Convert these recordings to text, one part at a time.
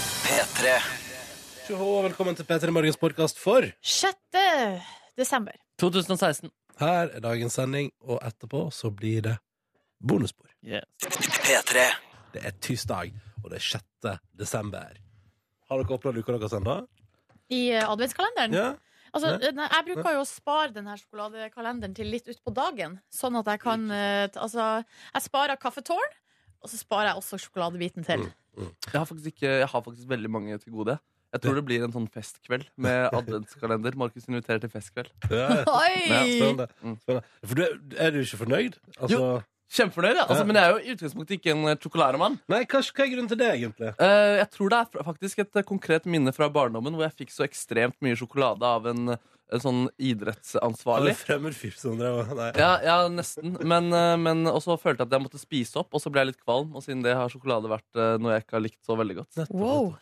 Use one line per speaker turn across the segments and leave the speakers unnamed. P3.
Tjoho, og velkommen til P3 Morgens podkast for
6. desember.
2016.
Her er dagens sending, og etterpå så blir det bonusspor.
Yes.
P3.
Det er tirsdag, og det er 6. desember. Har dere opplevd uka deres ennå?
I eh, adventskalenderen.
Ja?
Altså, nei, jeg bruker jo å spare denne sjokoladekalenderen til litt utpå dagen. Sånn at jeg kan eh, t- Altså, jeg sparer kaffetårn, og så sparer jeg også sjokoladebiten til.
Mm.
Jeg, har faktisk ikke, jeg har faktisk veldig mange til gode. Jeg tror det blir en sånn festkveld med adventskalender. Markus inviterer til festkveld.
ja.
Ja,
Oi!
Spennende.
Mm.
Spennende. For du, er- er du ikke fornøyd? Altså,
Kjempefornøyd, ja. altså,
Ja.
men jeg er jo i utgangspunktet ikke en eh, sjokolademann.
nei, hva, hva er grunnen til det, egentlig?
Eh, jeg tror det er fra- faktisk et eh, konkret minne fra barndommen hvor jeg fikk så ekstremt mye sjokolade av en, eh, en sånn
Var
idrettsansvarlig.
det fremmed fyr som drev og- Nei.
Ja, ja nesten. Men, eh, men også følte jeg at jeg måtte spise opp, og så ble jeg litt kvalm. Og siden det har sjokolade vært eh, noe jeg ikke har likt så veldig godt.
Wow.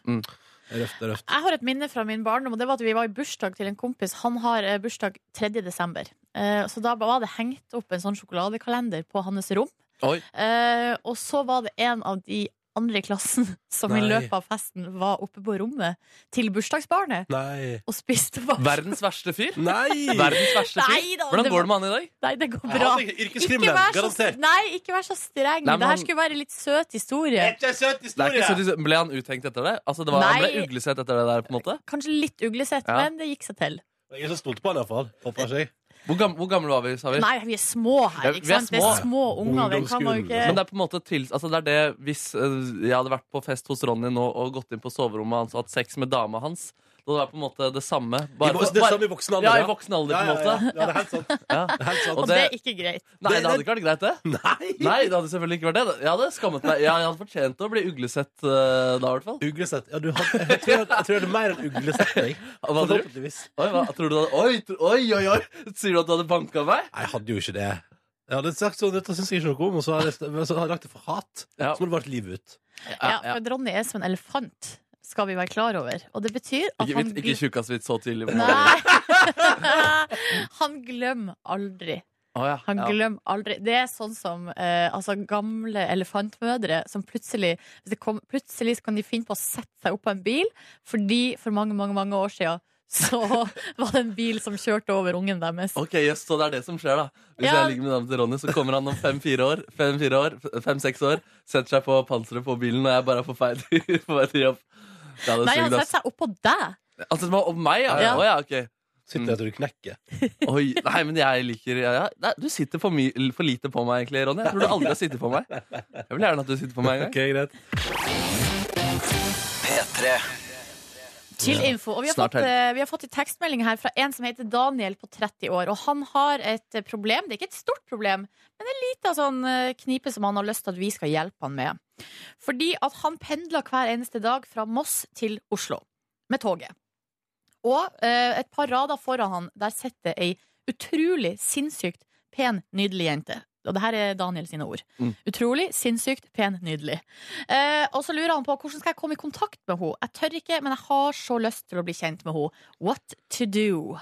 Røft og røft.
Jeg har et minne fra min barndom, og det var at vi var i bursdag til en kompis. Han har eh, bursdag 3. desember. Eh, Så da var det hengt opp en sånn sjokoladekalender på hans rom.
Oi.
Eh, og så var det en av de andre i klassen som i
Nei.
løpet av festen var oppe på rommet til bursdagsbarnet
Nei.
og spiste bare
Verdens verste fyr.
Nei!
Verdens verste fyr.
Nei da,
Hvordan
det
går det med han i dag?
Nei, det går bra.
Han er Yrkeskriminell,
så,
altså, garantert.
nei, ikke vær så streng.
Nei, men
Det
han-
her skulle være en litt søt historie.
Det er ikke en søt
Det er
historie!
ikke så, dis- ble han uthengt etter det? Altså, det var, han
Nei.
ble uglesett etter det der, på en måte?
Kanskje litt uglesett,
Ja.
men det gikk seg til.
Jeg er så stolt på han, iallfall. Håper ikke jeg.
Hvor, gam, hvor gamle var vi, sa vi?
Nei, vi er små
Ja,
her,
vi
ikke
er
sant? Det
små.
er små unger. Det kan man jo
Men det
ikke
er på en måte til, altså det er det Hvis eh, jeg hadde vært på fest hos Ronny nå og gått inn på soverommet hans og hatt sex med dama hans, da hadde det vært på en måte det samme.
I
Bare,
vo- Det er samme i voksen alder.
ja, i
ja.
voksen alder,
Ja,
på en
ja, ja.
måte.
Ja, det er helt sant.
Ja.
Det er helt sant.
Og
Og det er ikke greit.
Nei, det hadde ikke vært greit, det.
Nei!
Nei, det hadde selvfølgelig ikke vært det. Jeg hadde skammet meg. Jeg hadde fortjent å bli uglesett eh, da, i hvert fall.
Uglesett. Ja, du hadde, jeg, tror jeg, jeg tror jeg hadde mer enn uglesetting.
Hva hadde du?
Forhåpentligvis.
Oi, hva, tror du du hadde, oi, tro- oi, oi, oi! Sier du at du hadde banka meg?
Nei, jeg hadde jo ikke det. Jeg hadde sagt sånn, dette syns jeg ikke noe om, og så hadde jeg, men så hadde jeg lagt det for hat.
Ja.
Så må det vært livet ut.
Ja, for Ronny er som en elefant, skal vi være klar over. Og det betyr at
Ikke,
han
ikke
gl-
tjukkasvits så tidlig. på morgenen.
Nei! Han glemmer aldri.
Å, ja,
Han
ja.
glemmer aldri Det er sånn som eh, altså gamle elefantmødre som plutselig hvis det kom, Plutselig så kan de finne på å sette seg opp på en bil, fordi for mange, mange, mange år siden så var det en bil som kjørte over ungen deres.
Ok, yes, Så det er det som skjer, da. Hvis
Ja.
jeg ligger med dama til Ronny, så kommer han om fem-fire år, fem-fire år, fem-seks år, setter seg på panseret på bilen, og jeg bare er på vei til, på vei til jobb. Ja, det
Nei, han
sugd, ass.
setter seg oppå deg.
Han setter meg om meg, ja?
Ja.
Å ja, ok.
Sitter jeg til du knekker.
Oi, nei, men jeg liker ja, ja. Nei, Du sitter for, my, for lite på meg, egentlig, Ronny. Jeg tror du aldri har sittet på meg. Jeg vil gjerne at du sitter på meg en gang.
Ok, greit.
P3.
Chill info. Og vi har,
Snart
fått, eh, vi har fått en tekstmelding her fra en som heter Daniel på 30 år. Og han har et eh, problem. Det er ikke et stort problem, men en liten sånn eh, knipe som han har lyst til at vi skal hjelpe han med. Fordi at han pendler hver eneste dag fra Moss til Oslo med toget. Og eh, et par rader foran han, der sitter ei utrolig sinnssykt pen, nydelig jente. Og det her er Daniel sine ord.
Mm.
Utrolig, sinnssykt, pen, nydelig. Eh, og så lurer han på hvordan skal jeg komme i kontakt med henne. Jeg tør ikke, men jeg har så lyst til å bli kjent med henne. What to do?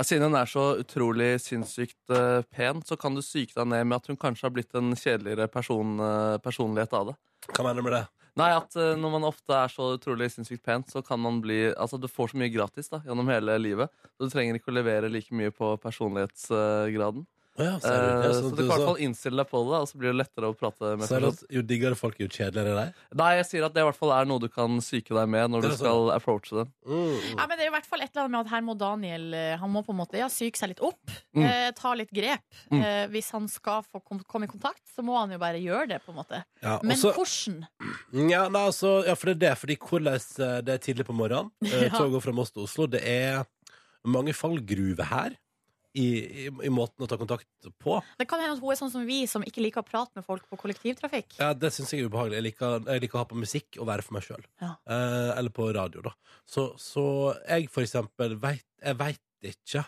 Ja, siden hun er så utrolig sinnssykt eh, pen, så kan du syke deg ned med at hun kanskje har blitt en kjedeligere person, eh, personlighet av det.
Hva mener du med det?
Nei, at eh, når man ofte er så utrolig sinnssykt pen, så kan man bli Altså, du får så mye gratis da, gjennom hele livet. Så du trenger ikke å levere like mye på personlighetsgraden.
Å ja, ser du. Ja,
Eh, så
sånn,
du kan i hvert fall innstille deg på det, da, og så blir det lettere å prate
så,
med
så er det
personen.
at jo diggere folk, jo kjedeligere er de.
Nei, jeg sier at det i hvert fall er noe du kan psyke deg med når
Det er
du skal approache den.
Mm.
Ja, men det er i hvert fall et eller annet med at her må Daniel eh, Han må på en måte ja, syke seg litt opp.
Mm.
Eh, ta litt grep.
Mm.
Eh, hvis han skal få kom, komme i kontakt, så må han jo bare gjøre det. på en måte
Ja, og
Men
så-
hvordan?
Ja, nei, altså, ja, for det er det. Fordi hvordan eh, det er tidlig på morgenen. eh,
Ja.
Toget fra Moss til Oslo. Det er mange fallgruver her i, i, i måten å ta kontakt på.
Det kan hende at hun er sånn som vi, som ikke liker å prate med folk på kollektivtrafikk.
Ja, Det syns jeg er ubehagelig. Jeg liker, jeg liker å ha på musikk og være for meg sjøl.
Ja.
Eh, eller på radio, da. Så, så jeg for eksempel veit Jeg veit ikke.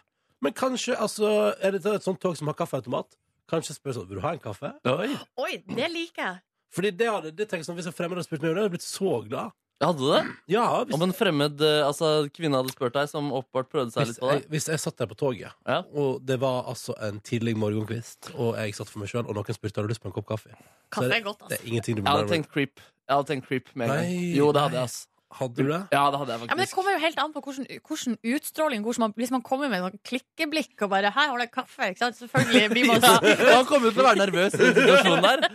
Men kanskje, altså Er dette et sånt tog som har kaffeautomat? Kanskje spør sånn Vil du ha en kaffe?
Oi,
Oi, det liker jeg!
Fordi det hadde, det tenker jeg sånn Hvis en fremmed hadde spurt meg om det, hadde jeg blitt så glad.
Hadde du det?
Ja, hvis,
Om en fremmed eh, altså, kvinne hadde spurt deg, som åpenbart prøvde seg
hvis,
litt på
jeg,
deg.
hvis jeg satt der på toget,
Ja.
og det var altså en tidlig morgenkvist, og jeg satt for meg sjøl, og noen spurte har du lyst på en kopp kaffe. Så
Kaffe
det-
er godt,
Det
altså.
er ingenting du
Jeg
må
hadde
være
tenkt creep. Jeg hadde tenkt creep med en gang.
Nei,
Jo, det
nei.
hadde jeg, ass.
Hadde du det?
Ja, det hadde jeg
Ja, men Det
faktisk.
kommer jo helt an på hvordan, hvordan utstråling hvordan man, Hvis man kommer med sånn klikkeblikk og bare 'Her har du kaffe', ikke sant? Selvfølgelig blir man
Ja,
så
han kommer til å være nervøs i den situasjonen der.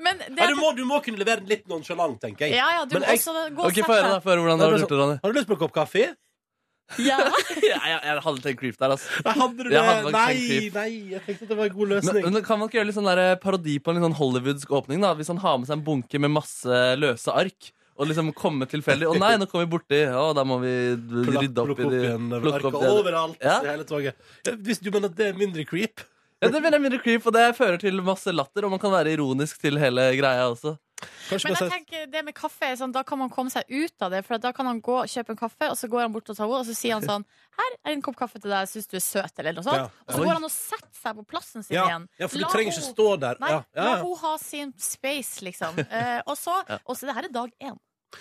Men det
Ja, du, må, du må kunne levere den litt nonchalant, tenker jeg.
Ja, ja, du
Men
må
jeg-
også gå og
Ok, Få
sette
høre da, få høre hvordan
Ja,
du har
men
gjort det, Ronny.
Har du lyst på en kopp kaffe?
Ja.
Jeg, jeg, jeg hadde tenkt creep der, altså.
Nei, hadde du
Jeg
det?
hadde nok
Nei,
tenkt
nei, jeg tenkte at det var en god
Men,
løsning.
men kan man ikke gjøre litt sånn der eh, parodi på en litt sånn hollywoodsk åpning? da Hvis han har med seg en bunke med masse løse ark, og liksom komme tilfeldig 'Å nei, nå kom vi borti. Å, da må vi d- rydde opp i
plukke opp
de
igjen
plukke opp
arka
det.
overalt
Ja.
i hele toget. Ja, Hvis du mener at det er mindre creep
Ja, Det mener jeg mindre creep, og det fører til masse latter, og man kan være ironisk til hele greia også.
Kanskje
Men
bare
jeg
si-
tenker det med kaffe er sånn, Da kan man komme seg ut av det. For at da kan han gå og kjøpe en kaffe, og så går han bort og tar henne, og så sier han sånn 'Her er en kopp kaffe til deg, syns du er søt', eller noe sånt.
Ja.
Og så
Oi.
går han og setter seg på plassen sin
ja.
igjen.
ja, for du
La
trenger ikke
hun-
stå der.
Nei,
Ja, ja,
la
ja.
hun ha sin space, liksom. Eh, og så
Ja.
Og så det her er dag én.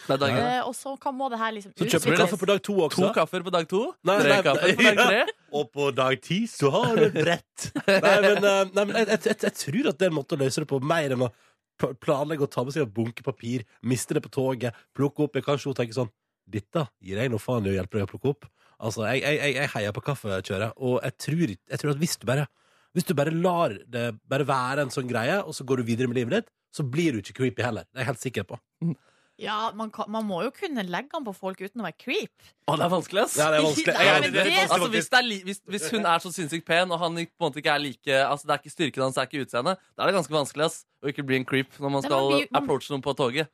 Nei, det er ikke det.
Eh, og så kan, må det her liksom
Så kjøper du
utvikles.
kaffe på dag to
To
også.
kaffer på dag to,
Nei,
tre
nei,
kaffer på dag
ja.
tre.
og på dag ti så har du et brett. Nei, men, eh, nei, men jeg, jeg, jeg, jeg tror at det er en måte å løse det på, mer enn å pl- planlegge å ta med seg en bunke papir, miste det på toget, plukke opp. Jeg kanskje hun tenker sånn Dette gir jeg noe faen i å hjelpe deg å plukke opp. Altså, jeg, jeg, jeg- jeg heier på kaffekjøret, og jeg tror, ikke- jeg tror at hvis du bare hvis du bare lar det bare være en sånn greie, og så går du videre med livet ditt, så blir du ikke creepy heller. Det er jeg helt sikker på.
Ja, man, kan, man må jo kunne legge han på folk uten å være creep.
Å, det er vanskelig, ass.
Ja, det er vanskelig.
Nei,
Jeg er
men
enig, det er litt
det-
Altså,
vanskelig
hvis,
faktisk.
det er li hvis, hvis hun er så sinnssykt pen, og han i- på en måte ikke er like Altså, Det er ikke styrken hans, det er ikke utseendet. Da er det ganske vanskelig ass, å ikke bli en creep når man
Nei,
skal
man blir- man-
approache noen på toget.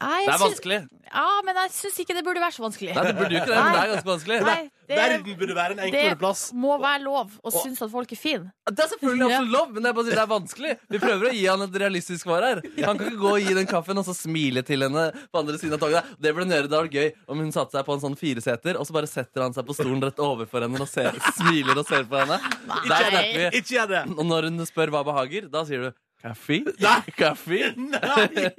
Nei, jeg
Det er
syns-
vanskelig.
Ja, men jeg syns ikke det burde være så vanskelig.
Nei, det burde jo ikke det, men det er ganske vanskelig.
Nei,
Verden burde være en enklere
det-
plass.
må være lov å synes at folk er fine.
Det er selvfølgelig absolutt lov, men jeg bare sier det er vanskelig. Vi prøver å gi han et realistisk svar her. Han kan ikke gå og gi den kaffen og så smile til henne på andre siden av toget. Det ble Nøredal gøy om hun satte seg på en sånn fireseter, og så bare setter han seg på stolen rett overfor henne og ser, smiler og ser på henne. Der snakker vi.
Ikke gjør det!
Og når hun spør hva behager, da sier du kaffe.
Nei.
kaffe.
Nei!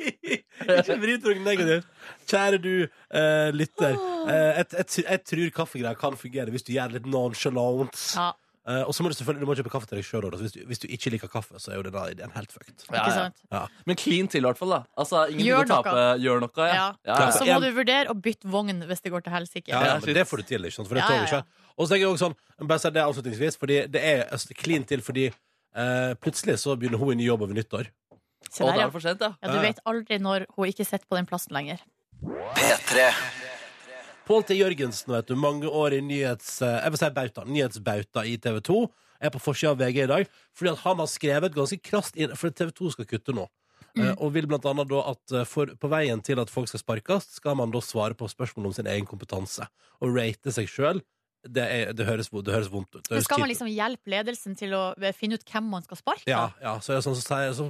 Ikke vri tanken negativt. Kjære du, eh, lytter. eh, jeg, jeg, tr- jeg tror kaffegreier kan fungere hvis du gjør det litt nonchalant.
Ja,
Eh, og så må du selvfølgelig du må kjøpe kaffe til deg sjøl. Hvis, du- hvis du ikke liker kaffe, så er jo denne ideen helt fucked.
Ja,
ikke
ja.
sant?
Ja.
Men clean til, i hvert fall. da altså, Ingenting
Gjør
å tape.
noe.
Gjør noe. Ja.
Ja.
Ja,
Og
ja.
så må du vurdere å bytte vogn hvis det går til helsike.
Ja, ja, men det får du til, ikke sant? For det
Ja,
tåler
ja, ja.
ikke. Og så tenker jeg også sånn, jeg må bare si det avslutningsvis, fordi det er altså, klin til fordi eh, plutselig så begynner hun i ny jobb over nyttår.
Se der,
Og da er
ja.
det for sent, ja.
Ja, du vet aldri når hun ikke sitter på den plassen lenger.
Pål T. Jørgensen, vet du, mange år i nyhets... eh, Jeg vil si bauta, nyhetsbauta i TV 2. Er på forsida av VG i dag. Fordi at han har skrevet ganske krast inn For TV 2 skal kutte nå.
Mm.
Eh, Og vil blant annet da at eh, for, på veien til at folk skal sparkes, skal man da svare på spørsmål om sin egen kompetanse. Og rate seg sjøl. Det, er- det, høres, det høres vondt ut. Det
Men
høres
skal
kjipt
man
ut.
liksom hjelpe ledelsen til å eh, finne ut hvem man skal sparke?
Ja,
da?
ja så, er det sånn, så, sier- så,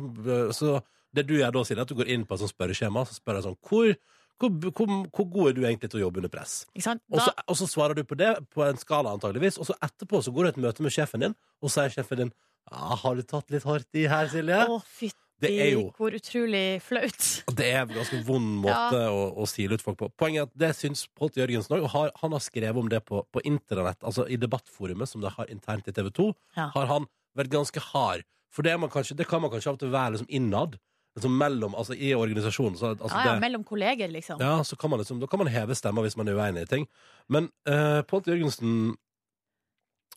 så det du gjør da, Silje, er at du går inn på et sånt spørreskjema så spør jeg sånn hvor, hvor, hvor, hvor god er du egentlig til å jobbe under press?
Ikke sant?
Og
Da,
så, og så svarer du på det på en skala, antageligvis. Og så etterpå så går du et møte med sjefen din, og så sier sjefen din ja, 'Har du tatt litt hardt i her, Silje?'
å, fytti,
Det er jo
hvor utrolig flaut.
det er en ganske vond måte å, å sile ut folk på. Poenget er at det syns Pål T. Jørgensen òg. Han har skrevet om det på, på internett, altså i debattforumet som de har internt i TV 2.
Ja.
Har han vært ganske hard. For det, er man kanskje, det kan man kanskje av og til være liksom innad. Liksom mellom, altså I organisasjonen. Så, altså,
Ja, ja,
det-
mellom kolleger, liksom.
ja, så kan man liksom, da kan man heve stemmer hvis man er uenig i ting. Men uh, Pål T. Jørgensen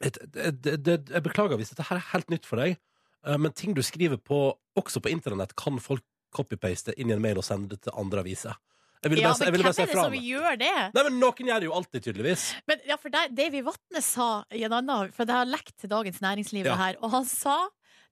et, et, et, et, Jeg beklager hvis dette her er helt nytt for deg, eh, men ting du skriver på også på internett, kan folk copypaste inn i en mail og sende det til andre aviser. Jeg ville
Ja,
bare, si- jeg
men
ville
hvem
bare si
er det
fra
som
meg.
gjør det?
Nei, men Noen gjør det jo alltid, tydeligvis.
Men ja, for der, Davy Vatne sa i en annen For det har lekt til Dagens Næringsliv,
Ja.
det her. Og han sa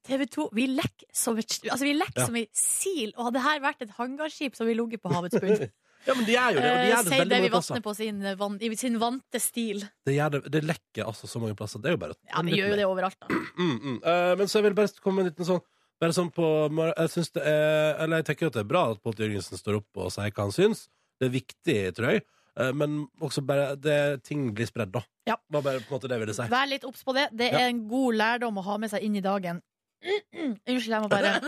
TV 2 Vi lekker som et altså, vi lekker
Ja.
som ei sil. Og hadde her vært et hangarskip, så hadde vi ligget på havets bunn.
Ja, men de gjør jo det. Og de
Eh,
gjør det veldig
Sier
altså.
Davy
mange
Vatne
plasser.
på sin, eh, van, i sin vante stil.
Det, gjør det, det lekker altså så mange plasser. Det er jo bare
Ja, Det gjør jo det overalt, da.
Mm, mm. Eh, men så jeg vil bare komme med en liten sånn Bare sånn på Jeg synes det er Eller jeg tenker at det er bra at Pål Jørgensen står opp og sier hva han syns. Det er viktig, tror jeg. Eh, men også bare det, Ting blir spredd, da.
Ja.
Det var bare på en måte det jeg ville si.
Vær litt obs på det. Det
Ja.
er en god lærdom å ha med seg inn i dagen. Unnskyld, jeg må bare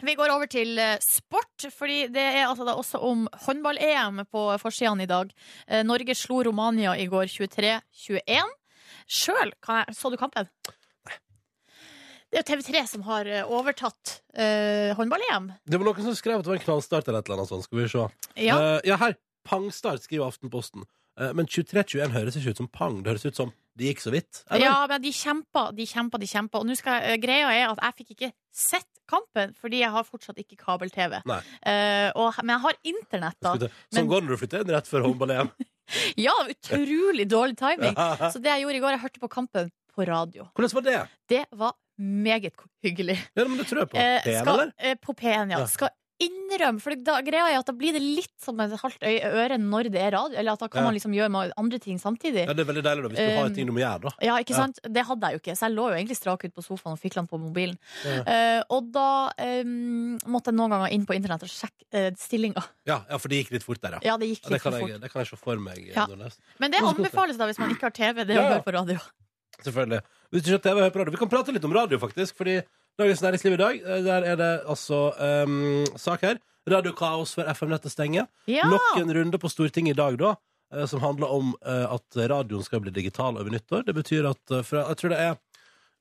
Vi går over til eh, sport, fordi det er altså da også om håndball-EM på forsidene i dag. Eh, Norge slo Romania i går 23-21. Sjøl kan jeg Så du kampen? Det er jo TV3 som har eh, overtatt eh, håndball-EM.
Det var noen som skrev at det var en knallstart eller et eller annet sånt. Skal vi se.
Ja.
Eh, ja her. pangstart, skriver Aftenposten. Eh, Men 23-21 høres ikke ut som pang. Det høres ut som det gikk så vidt. eller?
Ja, men de kjempa, de kjempa, de kjempa. Og nå skal, eh, greia er at jeg fikk ikke sett kampen, fordi jeg har fortsatt ikke kabel-TV.
Nei.
Eh, og- men jeg har internett, da.
Skulle til-
Men-
Sånn går det når du flytter inn rett før håndball-EM.
Ja, utrolig dårlig timing.
Ja.
Så det jeg gjorde i går, jeg hørte på kampen på radio.
Hvordan var det?
Det var meget hyggelig.
Ja, men det tror jeg på.
Eh,
Pen,
skal,
eller?
eh, på P1, ja.
Ja.
Skal innrømme, for da, greia er at da blir det litt som et halvt øy- øre når det er radio, eller at da kan
Ja.
man liksom gjøre ma- andre ting samtidig.
Ja, det er veldig deilig da, hvis du har
Eh,
ting du må gjøre, da.
Ja, ikke
Ja.
sant? Det hadde jeg jo ikke, så jeg lå jo egentlig strak ut på sofaen og fikk den på mobilen.
Ja.
Eh, og da eh, måtte jeg noen ganger inn på internett og sjekke uh, stillinga.
Ja, ja, for det gikk litt fort der, ja.
Ja, det gikk
Ja, det,
litt
kan
for
jeg,
fort.
det kan jeg se for meg.
Ja.
Nordnes.
Men det anbefales da hvis man ikke har TV, det
Ja,
å
ja.
høre på radio.
Selvfølgelig. Hvis du ikke har TV, hør på radio. Vi kan prate litt om radio, faktisk. Fordi Dagens Næringsliv i dag, eh, der er det altså ehm, sak her. Radiokaos før FM-nettet stenger.
Ja!
Nok en runde på Stortinget i dag, da. eh, Som handler om eh, at radioen skal bli digital over nyttår. Det betyr at eh, fra, jeg tror det er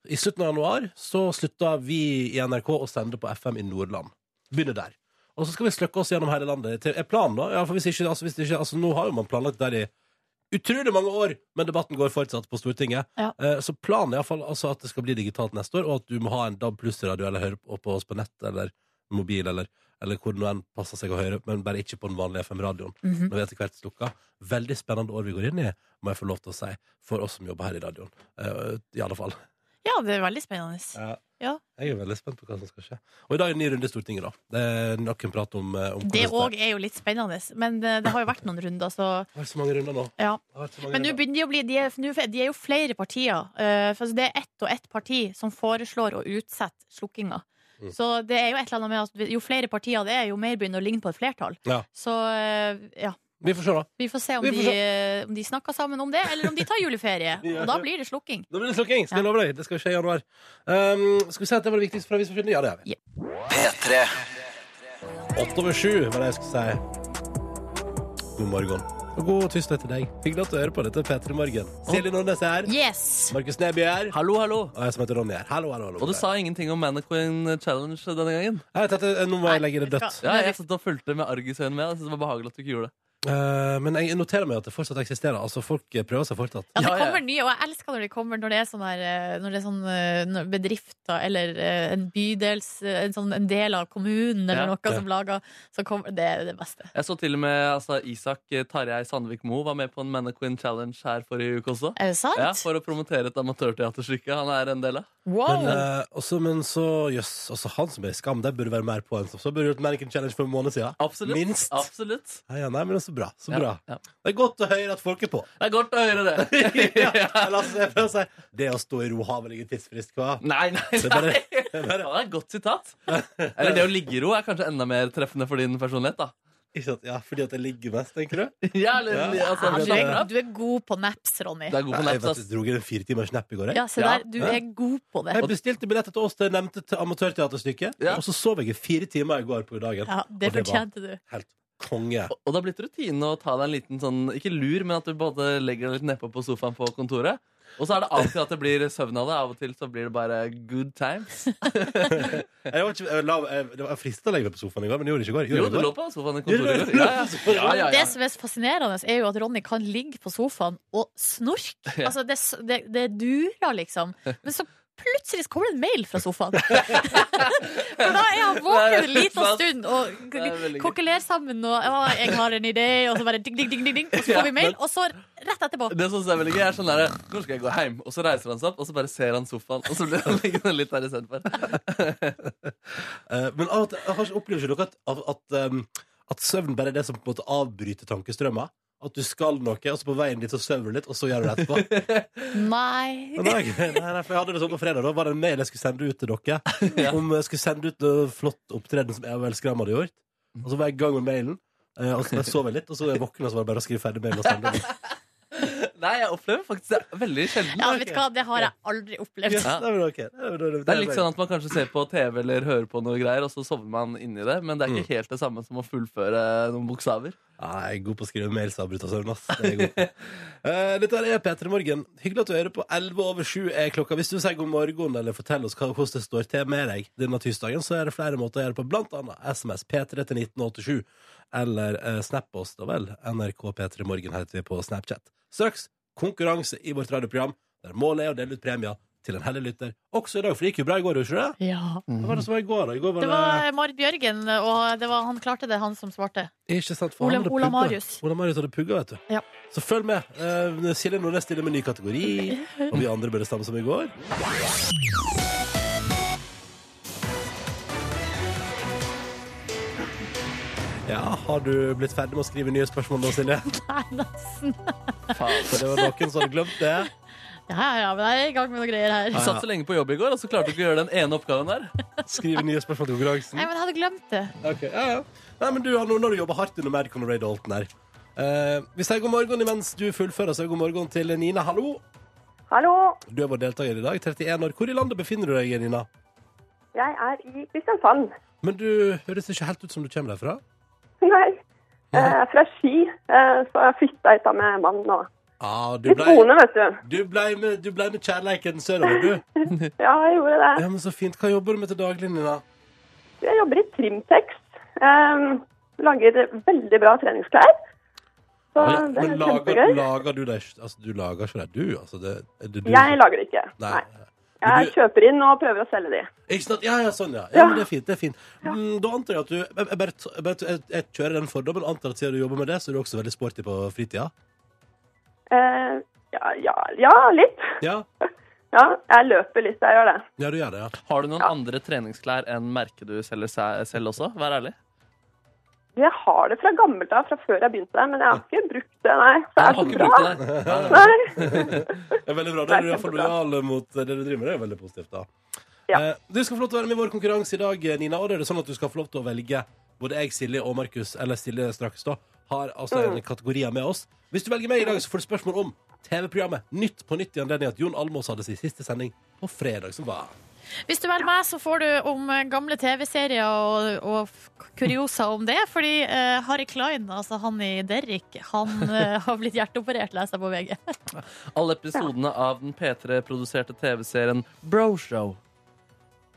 I slutten av januar så slutta vi i NRK å sende på FM i Nordland. Begynner der. Og så skal vi sløkke oss gjennom hele landet. Til- Er planen, da? Ja, for hvis ikke, altså, hvis ikke, altså, nå har jo man planlagt der i utrolig mange år, men debatten går fortsatt på Stortinget.
Ja.
Eh, Så planen er iallfall altså at det skal bli digitalt neste år, og at du må ha en DAB pluss-radio eller høre på- på oss på nett eller mobil eller, eller hvor det nå enn passer seg å høre, men bare ikke på den vanlige FM-radioen.
Mhm.
Når vi etter hvert slukka. Veldig spennende år vi går inn i, må jeg få lov til å si, for oss som jobber her i radioen. Eh, I alle fall.
ja, det er veldig spennende. Ja.
Jeg er veldig spent på hva som skal skje. Og i dag er det en ny runde i Stortinget, da. Det er nok en prat om, eh, om
Det
hvordan
òg er jo litt spennende, men eh, det har jo vært noen runder, så
Det har vært så mange runder nå.
ja.
Det har vært så mange
Men nå
runder.
begynner de å bli De er, nå- de er jo flere partier. eh, for altså det er ett og ett parti som foreslår å utsette slukkinga.
Mm.
Så det er jo et eller annet med at jo flere partier det er, jo mer begynner å ligne på et flertall.
Ja.
Så eh, ja.
Vi får se, da.
Vi får se om,
Vi får
de,
se.
eh, om de snakker sammen om det, eller om de tar juleferie.
Ja.
Og da blir det slukking.
Da blir det slukking, skal jeg love deg. Det skal skje i januar. Um, skal vi si at det var det viktigste fra Avis for Kvinner? Ja, det er vi. Åtte over sju var det jeg skulle si. God morgen. Og god tirsdag til deg. Hyggelig at du hører på dette P3 Morgen. Silje Nordnes er her.
Yes!
Markus Neby er her.
Hallo, hallo.
Og jeg som heter Ronny er her. Hallo, hallo, hallo.
Og du sa ingenting om Mannequin Challenge denne gangen.
Jeg tenkte, eh, Nå må jeg
Nei,
legge det
vet du
dødt.
hva?
Ja, jeg satt og fulgte med argusøyne med. Jeg synes det var behagelig at du ikke gjorde det.
Eh, men jeg noterer meg at det fortsatt eksisterer. Altså, Folk eh, prøver seg fortsatt.
Ja, det
Ja, ja, ja.
kommer nye, og jeg elsker når det kommer når det er sånn her eh, Når det er sånn eh, når bedrifter eller eh, en bydels eh, En, sånn, en del av kommunen eller
Ja.
noe
Ja.
som lager så kommer, Det er det beste.
Jeg så til og med altså, Isak eh, Tarjei Sandvik Moe var med på en Mannequin Challenge her forrige uke også.
Er det sant?
Ja, For å promotere et amatørteaterstykke han er en del av.
Wow!
Men, eh, også, men så Jøss, også han som er i Skam, der burde være mer på enn som så. Burde gjort Mannequin Challenge for en måned siden.
Absolutt.
Minst.
Absolutt.
Nei, ja, nei, men så bra. Så
Ja,
bra.
ja.
Det er godt å høre at folk er på.
Det er godt å høre det.
ja. Eller, altså, jeg prøver å si Det å stå i ro har vel ingen tidsfrist, hva?
Nei, nei,
Det er
nei.
bare-
Ja, Det er et godt sitat. Eller det å ligge i ro er kanskje enda mer treffende for din personlighet, da.
Ikke sant? Ja, fordi at jeg ligger mest, tenker du?
Ja, eller,
Ja,
altså,
Ja,
det
du,
er bra.
er, du er god på naps, Ronny.
Du er god på
Nei, jeg
naps,
vet,
ass.
du drog inn en fire timers napp i går. Jeg.
Ja, se
Ja.
der. Du er god på det.
Jeg bestilte billetter til oss til nevnte te- amatørteaterstykke,
Ja.
og så sov jeg i fire timer i går på dagen.
Ja, det
Og det var-
fortjente du.
Helt konge.
Og- Og det har blitt rutine å ta deg en liten sånn Ikke lur, men at du både legger deg litt nedpå på sofaen på kontoret. Og så er det alltid at det blir søvn av det. Av og til så blir det bare good times.
Jeg var, ikke, jeg la, jeg, det var frista å legge meg på sofaen i går, men jeg gjorde det ikke i går.
Jo,
Gjorde jeg
du
det i
lå
går?
på sofaen i
Gjorde
kontoret.
du?
Ja, ja. ja, ja, ja.
Det som er så fascinerende, er jo at Ronny kan ligge på sofaen og snorke.
Ja.
Altså, det, det, det durer, liksom. Men så plutselig så kommer det en mail fra sofaen. For da er han våken en liten
sant.
stund og
Det er veldig gøy.
kokkelerer sammen og ja, 'Jeg har en idé', og så bare ding, ding, ding, ding, ding. Og så
Ja,
får vi mail, og så rett etterpå.
Det som er veldig gøy, er sånn der Nå skal jeg gå hjem. Og så reiser han seg opp, og så bare ser han sofaen, og så blir han liggende litt der istedenfor.
Eh, men av og til, jeg har ikke- opplever ikke dere at, at, at, um, at søvn bare er det som på en måte avbryter tankestrømmer? At du skal noe, og så på veien dit så sover du litt, og så gjør du det etterpå?
Nei.
Men Nei, nei, nei, for jeg hadde det sånn på fredag. Da var det en mail jeg skulle sende ut til dere. Om jeg skulle sende ut noe flott opptreden som jeg og Elskram hadde gjort. Og så var jeg i gang med mailen. eh, Og så bare sov jeg litt, og så var jeg våken, og så var det bare å skrive ferdig mailen og sende den.
Nei, jeg opplever faktisk det veldig sjelden.
Ja, vet du hva, det har jeg aldri opplevd.
Yes, det er vel ok. Det er vel- det er vel-
Det er litt sånn at man kanskje ser på TV eller hører på noe greier, og så sovner man inni det. Men det er ikke helt det samme som å fullføre noen bokstaver.
Ja, jeg er god på å skrive mails av Brutta Søvn, ass. Det er jeg god på. Eh, dette her er P3 Morgen. Hyggelig at du hører på. 11 over 7 er klokka. Hvis du sier god morgen, eller forteller oss hva, hvordan det står til med deg denne tirsdagen, så er det flere måter å gjøre det på, blant annet SMS P3 til 1987, eller eh, snap oss, da vel. NRK P3 Morgen heter vi på Snapchat. Straks konkurranse i vårt radioprogram, der målet er å dele ut premier til en heldig lytter. Også i dag, for det gikk jo bra i går, gjorde ikke det?
Ja.
Hva var det som var i går, da? I går var
Det
det,
var Marit Bjørgen, og det var, han klarte det, han som svarte.
Ikke sant, for
Ole-
han hadde
Ola
pugga.
Marius.
Ola Marius hadde pugga, vet du.
Ja.
Så følg med. Eh, Silje Nordnes stiller med ny kategori, og vi andre bør det samme som i går. Ja, har du blitt ferdig med å skrive nye spørsmål nå, Silje?
Nei, nesten.
Faen.
For det var noen som hadde glemt det.
Ja, ja, men jeg er i gang med noen greier her.
Du satt så lenge på jobb i går, og så klarte du ikke å gjøre den ene oppgaven der.
Skrive nye spørsmål til konkurransen.
Nei, men jeg hadde glemt det.
Ok, ja, ja. Nei, men du har nå når du jobber hardt under Madcon og Ray Dalton her. Eh, vi sier god morgen imens du fullfører, så god morgen til Nina. Hallo.
Hallo,
Du er vår deltaker i dag, 31 år. Hvor i landet befinner du deg, Nina?
jeg er i Kristiansand.
Men du høres ikke helt ut som du kommer derfra.
Nei, jeg er fra Ski, eh, så jeg flytta hit da med mannen og
Ah, du
litt
blei
boende, vet du.
du blei med, du blei med kjærleiken sørover, du.
Ja, jeg gjorde det.
Ja, men Så fint. Hva jobber du med til daglig, Nina?
Jeg jobber i Trimtex. Um, lager veldig bra treningsklær. Så
Men,
Ah, det
men
er
lager,
kjempegøy.
lager du deg Altså, du lager ikke deg, du? Altså, det, er det du
Jeg lager det ikke. Nei.
Men
Jeg
du-
kjøper inn og prøver å selge de.
Ikke sant? Ja, ja, sånn, ja. ja,
Ja.
Men det er fint. det er fint mm, Da antar jeg at du jeg, jeg, bare, t- jeg, bare t- jeg, jeg kjører den fordommen. Antar at siden du jobber med det, så er du også veldig sporty på fritida.
Eh, ja, ja, ja, litt.
Ja,
Ja, jeg løper litt, jeg gjør det.
ja du gjør det, ja.
Har du noen andre treningsklær enn merket du selger se- selv også? Vær ærlig.
Jeg har det fra gammelt av, fra før jeg begynte, men jeg har ikke brukt det, nei. Så
Jeg
det er
har
så
ikke
bra.
brukt det der.
Nei.
Det er veldig bra.
Det
Da
er
er du i hvert fall
kjempebra.
lojal mot det du driver med. Det er veldig positivt, da.
Ja.
Eh, Du skal få lov til å være med i vår konkurranse i dag, Nina. Og da er det sånn at du skal få lov til å velge både jeg, Silje og Markus, eller Silje straks, da, har altså
Mm.
en kategorier med oss. Hvis du velger meg i dag, så får du spørsmål om TV-programmet Nytt på nytt i anledning at Jon Almås hadde sin siste sending på fredag som var.
Hvis du velger meg, så får du om eh, gamle TV-serier og, og f- kuriosa om det. Fordi eh, Harry Klein, altså han i Derrick, han eh, har blitt hjerteoperert, leser jeg på VG.
Alle episodene av den P3-produserte TV-serien Broshow.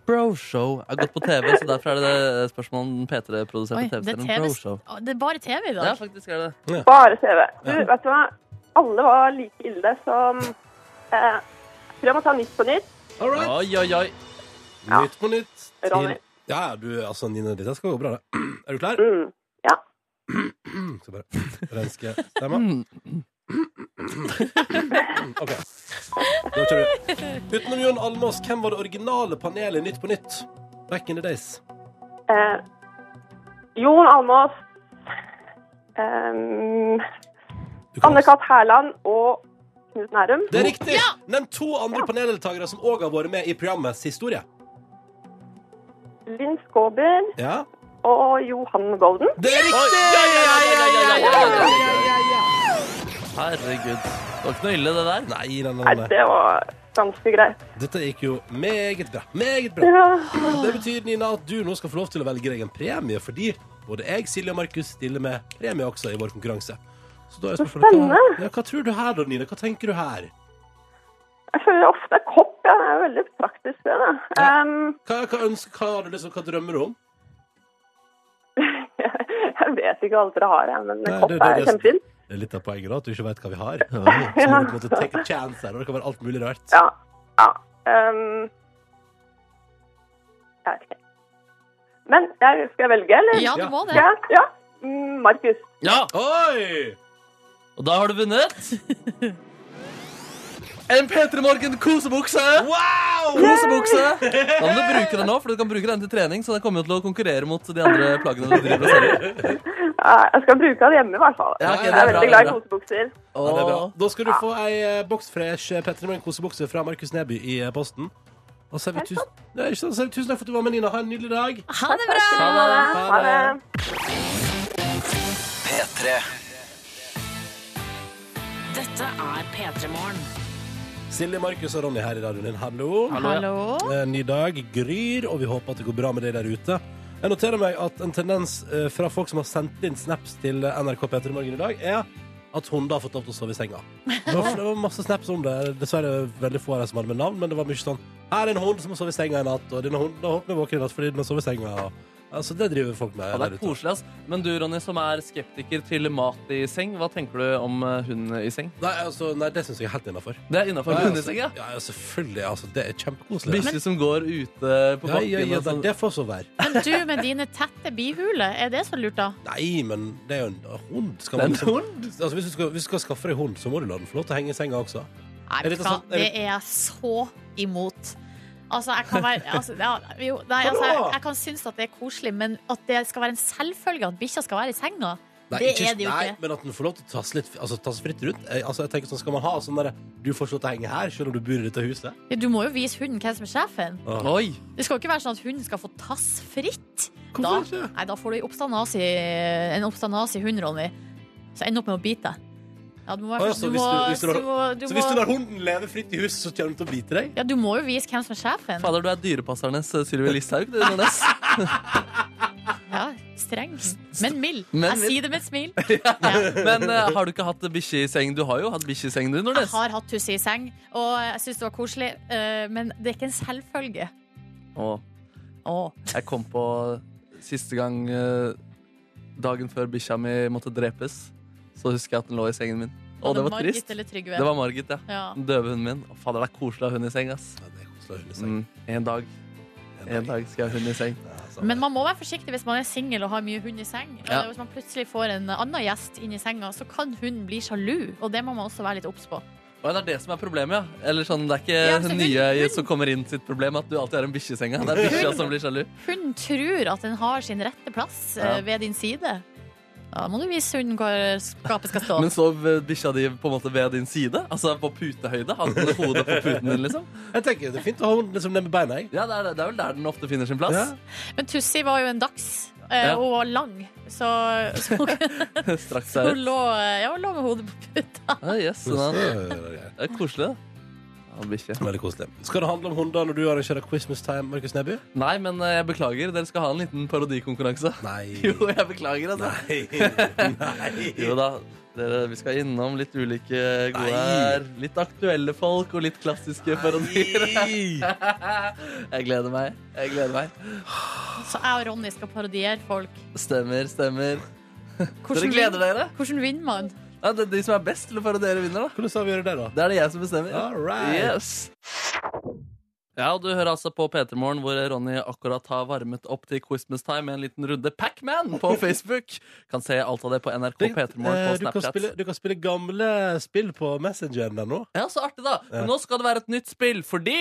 Broshow er gått på TV, så derfor er det det spørsmålet om den
Oi,
P3-produserte
det, er
TV-serien
TV
Broshow.
det er bare TV i
Ja,
dag.
faktisk er det det.
Bare TV. Du, vet du hva? Alle var like ille, så eh, jeg tror jeg må ta Nytt på nytt.
All right.
Oi, oi, oi.
Ja.
Nytt på nytt.
Ronny.
Til... Ja, ja, du, altså, Nina, dette skal gå bra, det. Er du klar?
Mm. Ja. Mm.
Skal bare renske stemma. OK. Nå kjører vi. Utenom Jon Almaas, hvem var det originale panelet i Nytt på nytt? Back in the days.
Eh, Jon Almaas, um,
Du kan også-
Anne-Kat. Hærland og Knut Nærum.
Det er riktig! Nevn to andre paneldeltakere som òg har vært med i programmets historie.
Linn Skåber
Ja.
og Johan Golden.
Det er
Oi,
riktig!
ja, ja, ja, ja, ja, ja, ja, ja, ja, ja.
ja, ja.
Herregud. Det var ikke noe ille, det der.
Nei, nei, nei,
Nei,
nei.
det var ganske greit.
Dette gikk jo meget bra. Meget bra.
Ja.
Det betyr Nina, at du nå skal få lov til å velge deg en premie, fordi både jeg, Silje og Markus stiller med premie også i vår konkurranse. Så da er spørsmålet hva,
spennende.
ja, hva tror du her, da, Nina? Hva tenker du her?
Jeg føler ofte kopp. Ja. Det er jo veldig praktisk, det. da. Em,
Hva, hva, ønsker, hva, har du liksom, hva drømmer du om?
jeg vet ikke alt dere har, jeg, men
Nei,
kopp
det- det-
er
det-
kjempefint.
Det er litt av poenget, da, at du ikke vet hva vi har. Så må du på en måte take a chance her, og det kan være alt mulig rart.
Ja. ja. ehm, jeg vet ikke. Men jeg, skal jeg velge, eller?
Ja, du
Ja.
må det.
ja. ja. Mm, Markus.
Ja,
Oi!
og da har du vunnet. En P3 Morgen-kosebukse!
Wow!
Kosebukse! Da må du bruke den nå, for du kan bruke den til trening, så den kommer jo til å konkurrere mot de andre plaggene du driver og selger.
Ja, jeg skal bruke den hjemme, i hvert fall.
Ja, ok, det er
jeg er
bra,
veldig
det er
glad i
bra.
kosebukser.
Ja, det er bra. Da skal du få ei eh, boksfresh eh, Petter Morgen kosebukse fra Markus Neby i eh, posten. Og så er vi tusen, Nei, ikke sant, så er vi tusen takk for at du var med, Nina. Ha en nydelig dag.
Ha det bra!
Ha det.
Ha
Ha
det.
det.
Dette er P3 Morgen.
Silje, Markus og Ronny her i radioen din. Hallo.
Hallo, ja.
Hallo.
En ny dag gryr, og vi håper at det går bra med deg der ute. Jeg noterer meg at en tendens eh, fra folk som har sendt inn snaps til eh, NRK P3 Morgen i dag, er at hunder har fått lov til å sove i senga. Det var, det var masse snaps om det. Dessverre veldig få av dem som hadde med navn, men det var mye sånn Her er en hund som har sovet i senga i natt, og denne hunden har holdt meg våken i natt fordi den har sovet i senga. Altså, det driver folk med.
Ja, det
der
er
ute.
koselig, ass. Men du, Ronny, som er skeptiker til mat i seng, hva tenker du om eh, hund i seng?
Nei, altså, nei, det syns jeg er helt innafor.
Det er innafor
Ja,
hund i
altså,
seng, ja.
ja, selvfølgelig. Altså, det er kjempekoselig.
Bikkjer som går ute på
Ja,
bakken.
ja, ja,
og sånn.
det, det får så være.
Men du med dine tette bihuler, er det så lurt, da?
Nei, men det er jo en hund. Skal
Det
man
er en
liksom-
hund?
Altså, hvis, du skal, hvis du skal skaffe deg hund, så må du la den få lov til å henge i senga også.
Nei,
Er
vet
det
du hva,
sånn- er
det
det-
er jeg så imot. Altså, jeg kan være altså, ja, jo, nei, altså, jeg, jeg kan synes at det er koselig, men at det skal være en selvfølge at bikkja skal være i senga, det er det jo
nei,
ikke.
Men at den får lov til å tasse litt altså, tasse fritt rundt. Eh, Altså, jeg tenker sånn, Skal man ha sånn derre Du får ikke lov til å henge her, selv om du bor i dette huset?
Du må jo vise hunden hvem som er sjefen.
Åh.
Oi!
Det skal jo ikke være sånn at hunden skal få tass fritt. Da,
Hvorfor ikke?
nei, da får du en obstanasi, en obstanasi hund, Ronny, som ender opp med å bite deg. Ja, du må
Å, ja,
være først.
så
Du
hvis
må,
du- hvis du
du
lar-
må, du
Så
må,
hvis du lar hunden leve fritt i huset, så kommer den til å bite deg?
ja, du må jo vise hvem som er sjefen.
Fader, du er dyrepassernes eh, Sylvi Listhaug. du, Nordnes.
Ja, streng, men mild.
Men
Jeg
mild.
sier det med et smil.
Men eh, har du ikke hatt bikkje i seng? Du har jo hatt bikkje i seng, du,
Jeg
Nordnes.
har hatt Tussi i seng, og jeg syns det var koselig, eh, men det er ikke en selvfølge.
Å,
Åh.
jeg kom på siste gang eh, dagen før bikkja mi måtte drepes, så husker jeg at den lå i sengen min. Og det var
Margit
trist.
Eller Trygve.
Det var Margit, ja.
ja.
Den døve hunden min. Å, fader, det er koselig å ha hund i seng, ass.
Ja, det er koselig å ha hund i seng.
Mm. En dag, en dag skal jeg ha hund i seng.
Ja, sant.
Men man må være forsiktig hvis man er singel og har mye hund i seng.
Ja.
Og Hvis man plutselig får en annen gjest inn i senga, så kan hunden bli sjalu, og det må man også være litt obs på.
Å, ja, det er det som er problemet, ja. Eller sånn, det er ikke
Ja, men
den
så
nye
hund-
som kommer inn sitt problem, at du alltid har en bikkje i senga. Det er bikkja som blir sjalu.
Hunden tror at den har sin rette plass eh,
Ja.
ved din side. Da må du vise hunden hvor skapet skal stå.
Men sov eh, bikkja di på en måte ved din side? Altså på putehøyde? Hadde den hodet på puten din, liksom?
Jeg tenker, Det er fint å ha hunden liksom ned med beina. Jeg.
Ja, det er, det er vel der den ofte finner sin plass.
Ja.
Men Tussi var jo en dags, eh,
Ja.
og var lang, så, så hun,
Straks
hun,
er
lå, ja, hun lå med hodet på puta.
ah, yes,
Så eh,
sånn, ja.
det er greit.
Det er koselig, da. Ja, bikkje.
Veldig koselig. Skal det handle om hunder når du arrangerer Christmas time, Markus Neby?
Nei, men eh, jeg beklager. Dere skal ha en liten parodikonkurranse.
Nei.
Jo, jeg beklager, altså.
Nei.
Jo da. Dere, vi skal innom litt ulike gode
Nei.
her. Litt aktuelle folk og litt klassiske parodier.
Nei.
Jeg gleder meg. Jeg gleder meg.
Så jeg og Ronny skal parodiere folk.
Stemmer, stemmer.
Hvordan
dere gleder
vinner-
dere?
Hvordan vinner man?
Ja, det er de som er best til å parodiere, vinner, da.
Hvordan skal vi gjøre det, da?
Det er det jeg som bestemmer.
All right.
Yes. Ja, og du hører altså på P3 Morgen, hvor Ronny akkurat har varmet opp til Christmas time med en liten runde Pac-Man på Facebook. Kan se alt av det på NRK
Det-
P3 Morgen
eh,
på
du, kan
Snapchat.
spille, du kan spille gamle spill på Messenger ennå.
Ja, så artig, da. Men nå skal det være et nytt spill, fordi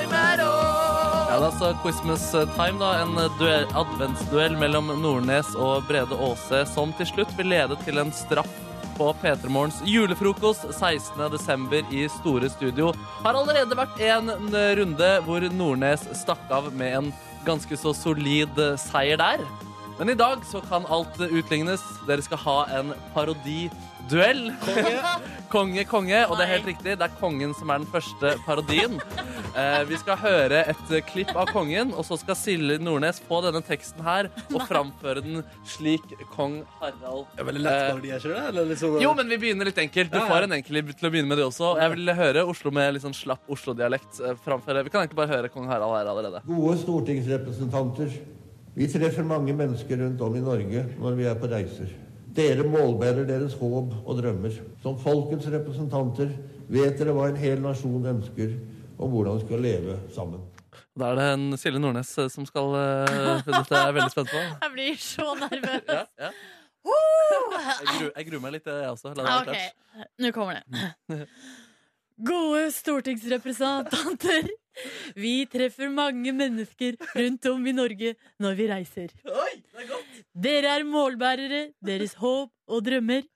Ja, det er altså Christmas time, da. En eh, duell, adventsduell mellom Nordnes og Brede Aase, som til slutt vil lede til en straff på P3 Morgens julefrokost 16.12. i Store Studio. Har allerede vært en n- runde hvor Nordnes stakk av med en ganske så solid eh, seier der. Men i dag så kan alt eh, utlignes. Dere skal ha en parodiduell. Konge, konge. Og det er helt riktig, det er kongen som er den første parodien. Eh, vi skal høre et eh, klipp av kongen, og så skal Silje Nordnes få denne teksten her og framføre den slik kong Harald
Det er veldig
Eh,
lett parodi, er ikke det? Eller liksom,
jo, men vi begynner litt enkelt. Du
Ja, ja.
får en enkel til å begynne med det også. Jeg vil høre Oslo med litt sånn slapp Oslo-dialekt eh, framfor Vi kan egentlig bare høre kong Harald her allerede.
Gode stortingsrepresentanter. Vi treffer mange mennesker rundt om i Norge når vi er på reiser. Dere målbærer deres håp og drømmer. Som folkets representanter vet dere hva en hel nasjon ønsker, og hvordan vi skal leve sammen.
Da er det en Silje Nordnes eh, som skal eh, Dette er jeg veldig spent på.
Jeg blir så nervøs.
Ja, ja. Jeg, gru, jeg gruer meg litt, eh, jeg også. La det
Ja,
være
Ah, OK,
klart.
nå kommer det. Gode stortingsrepresentanter. Vi treffer mange mennesker rundt om i Norge når vi reiser.
Oi, det er godt.
Dere er målbærere, deres håp og drømmer.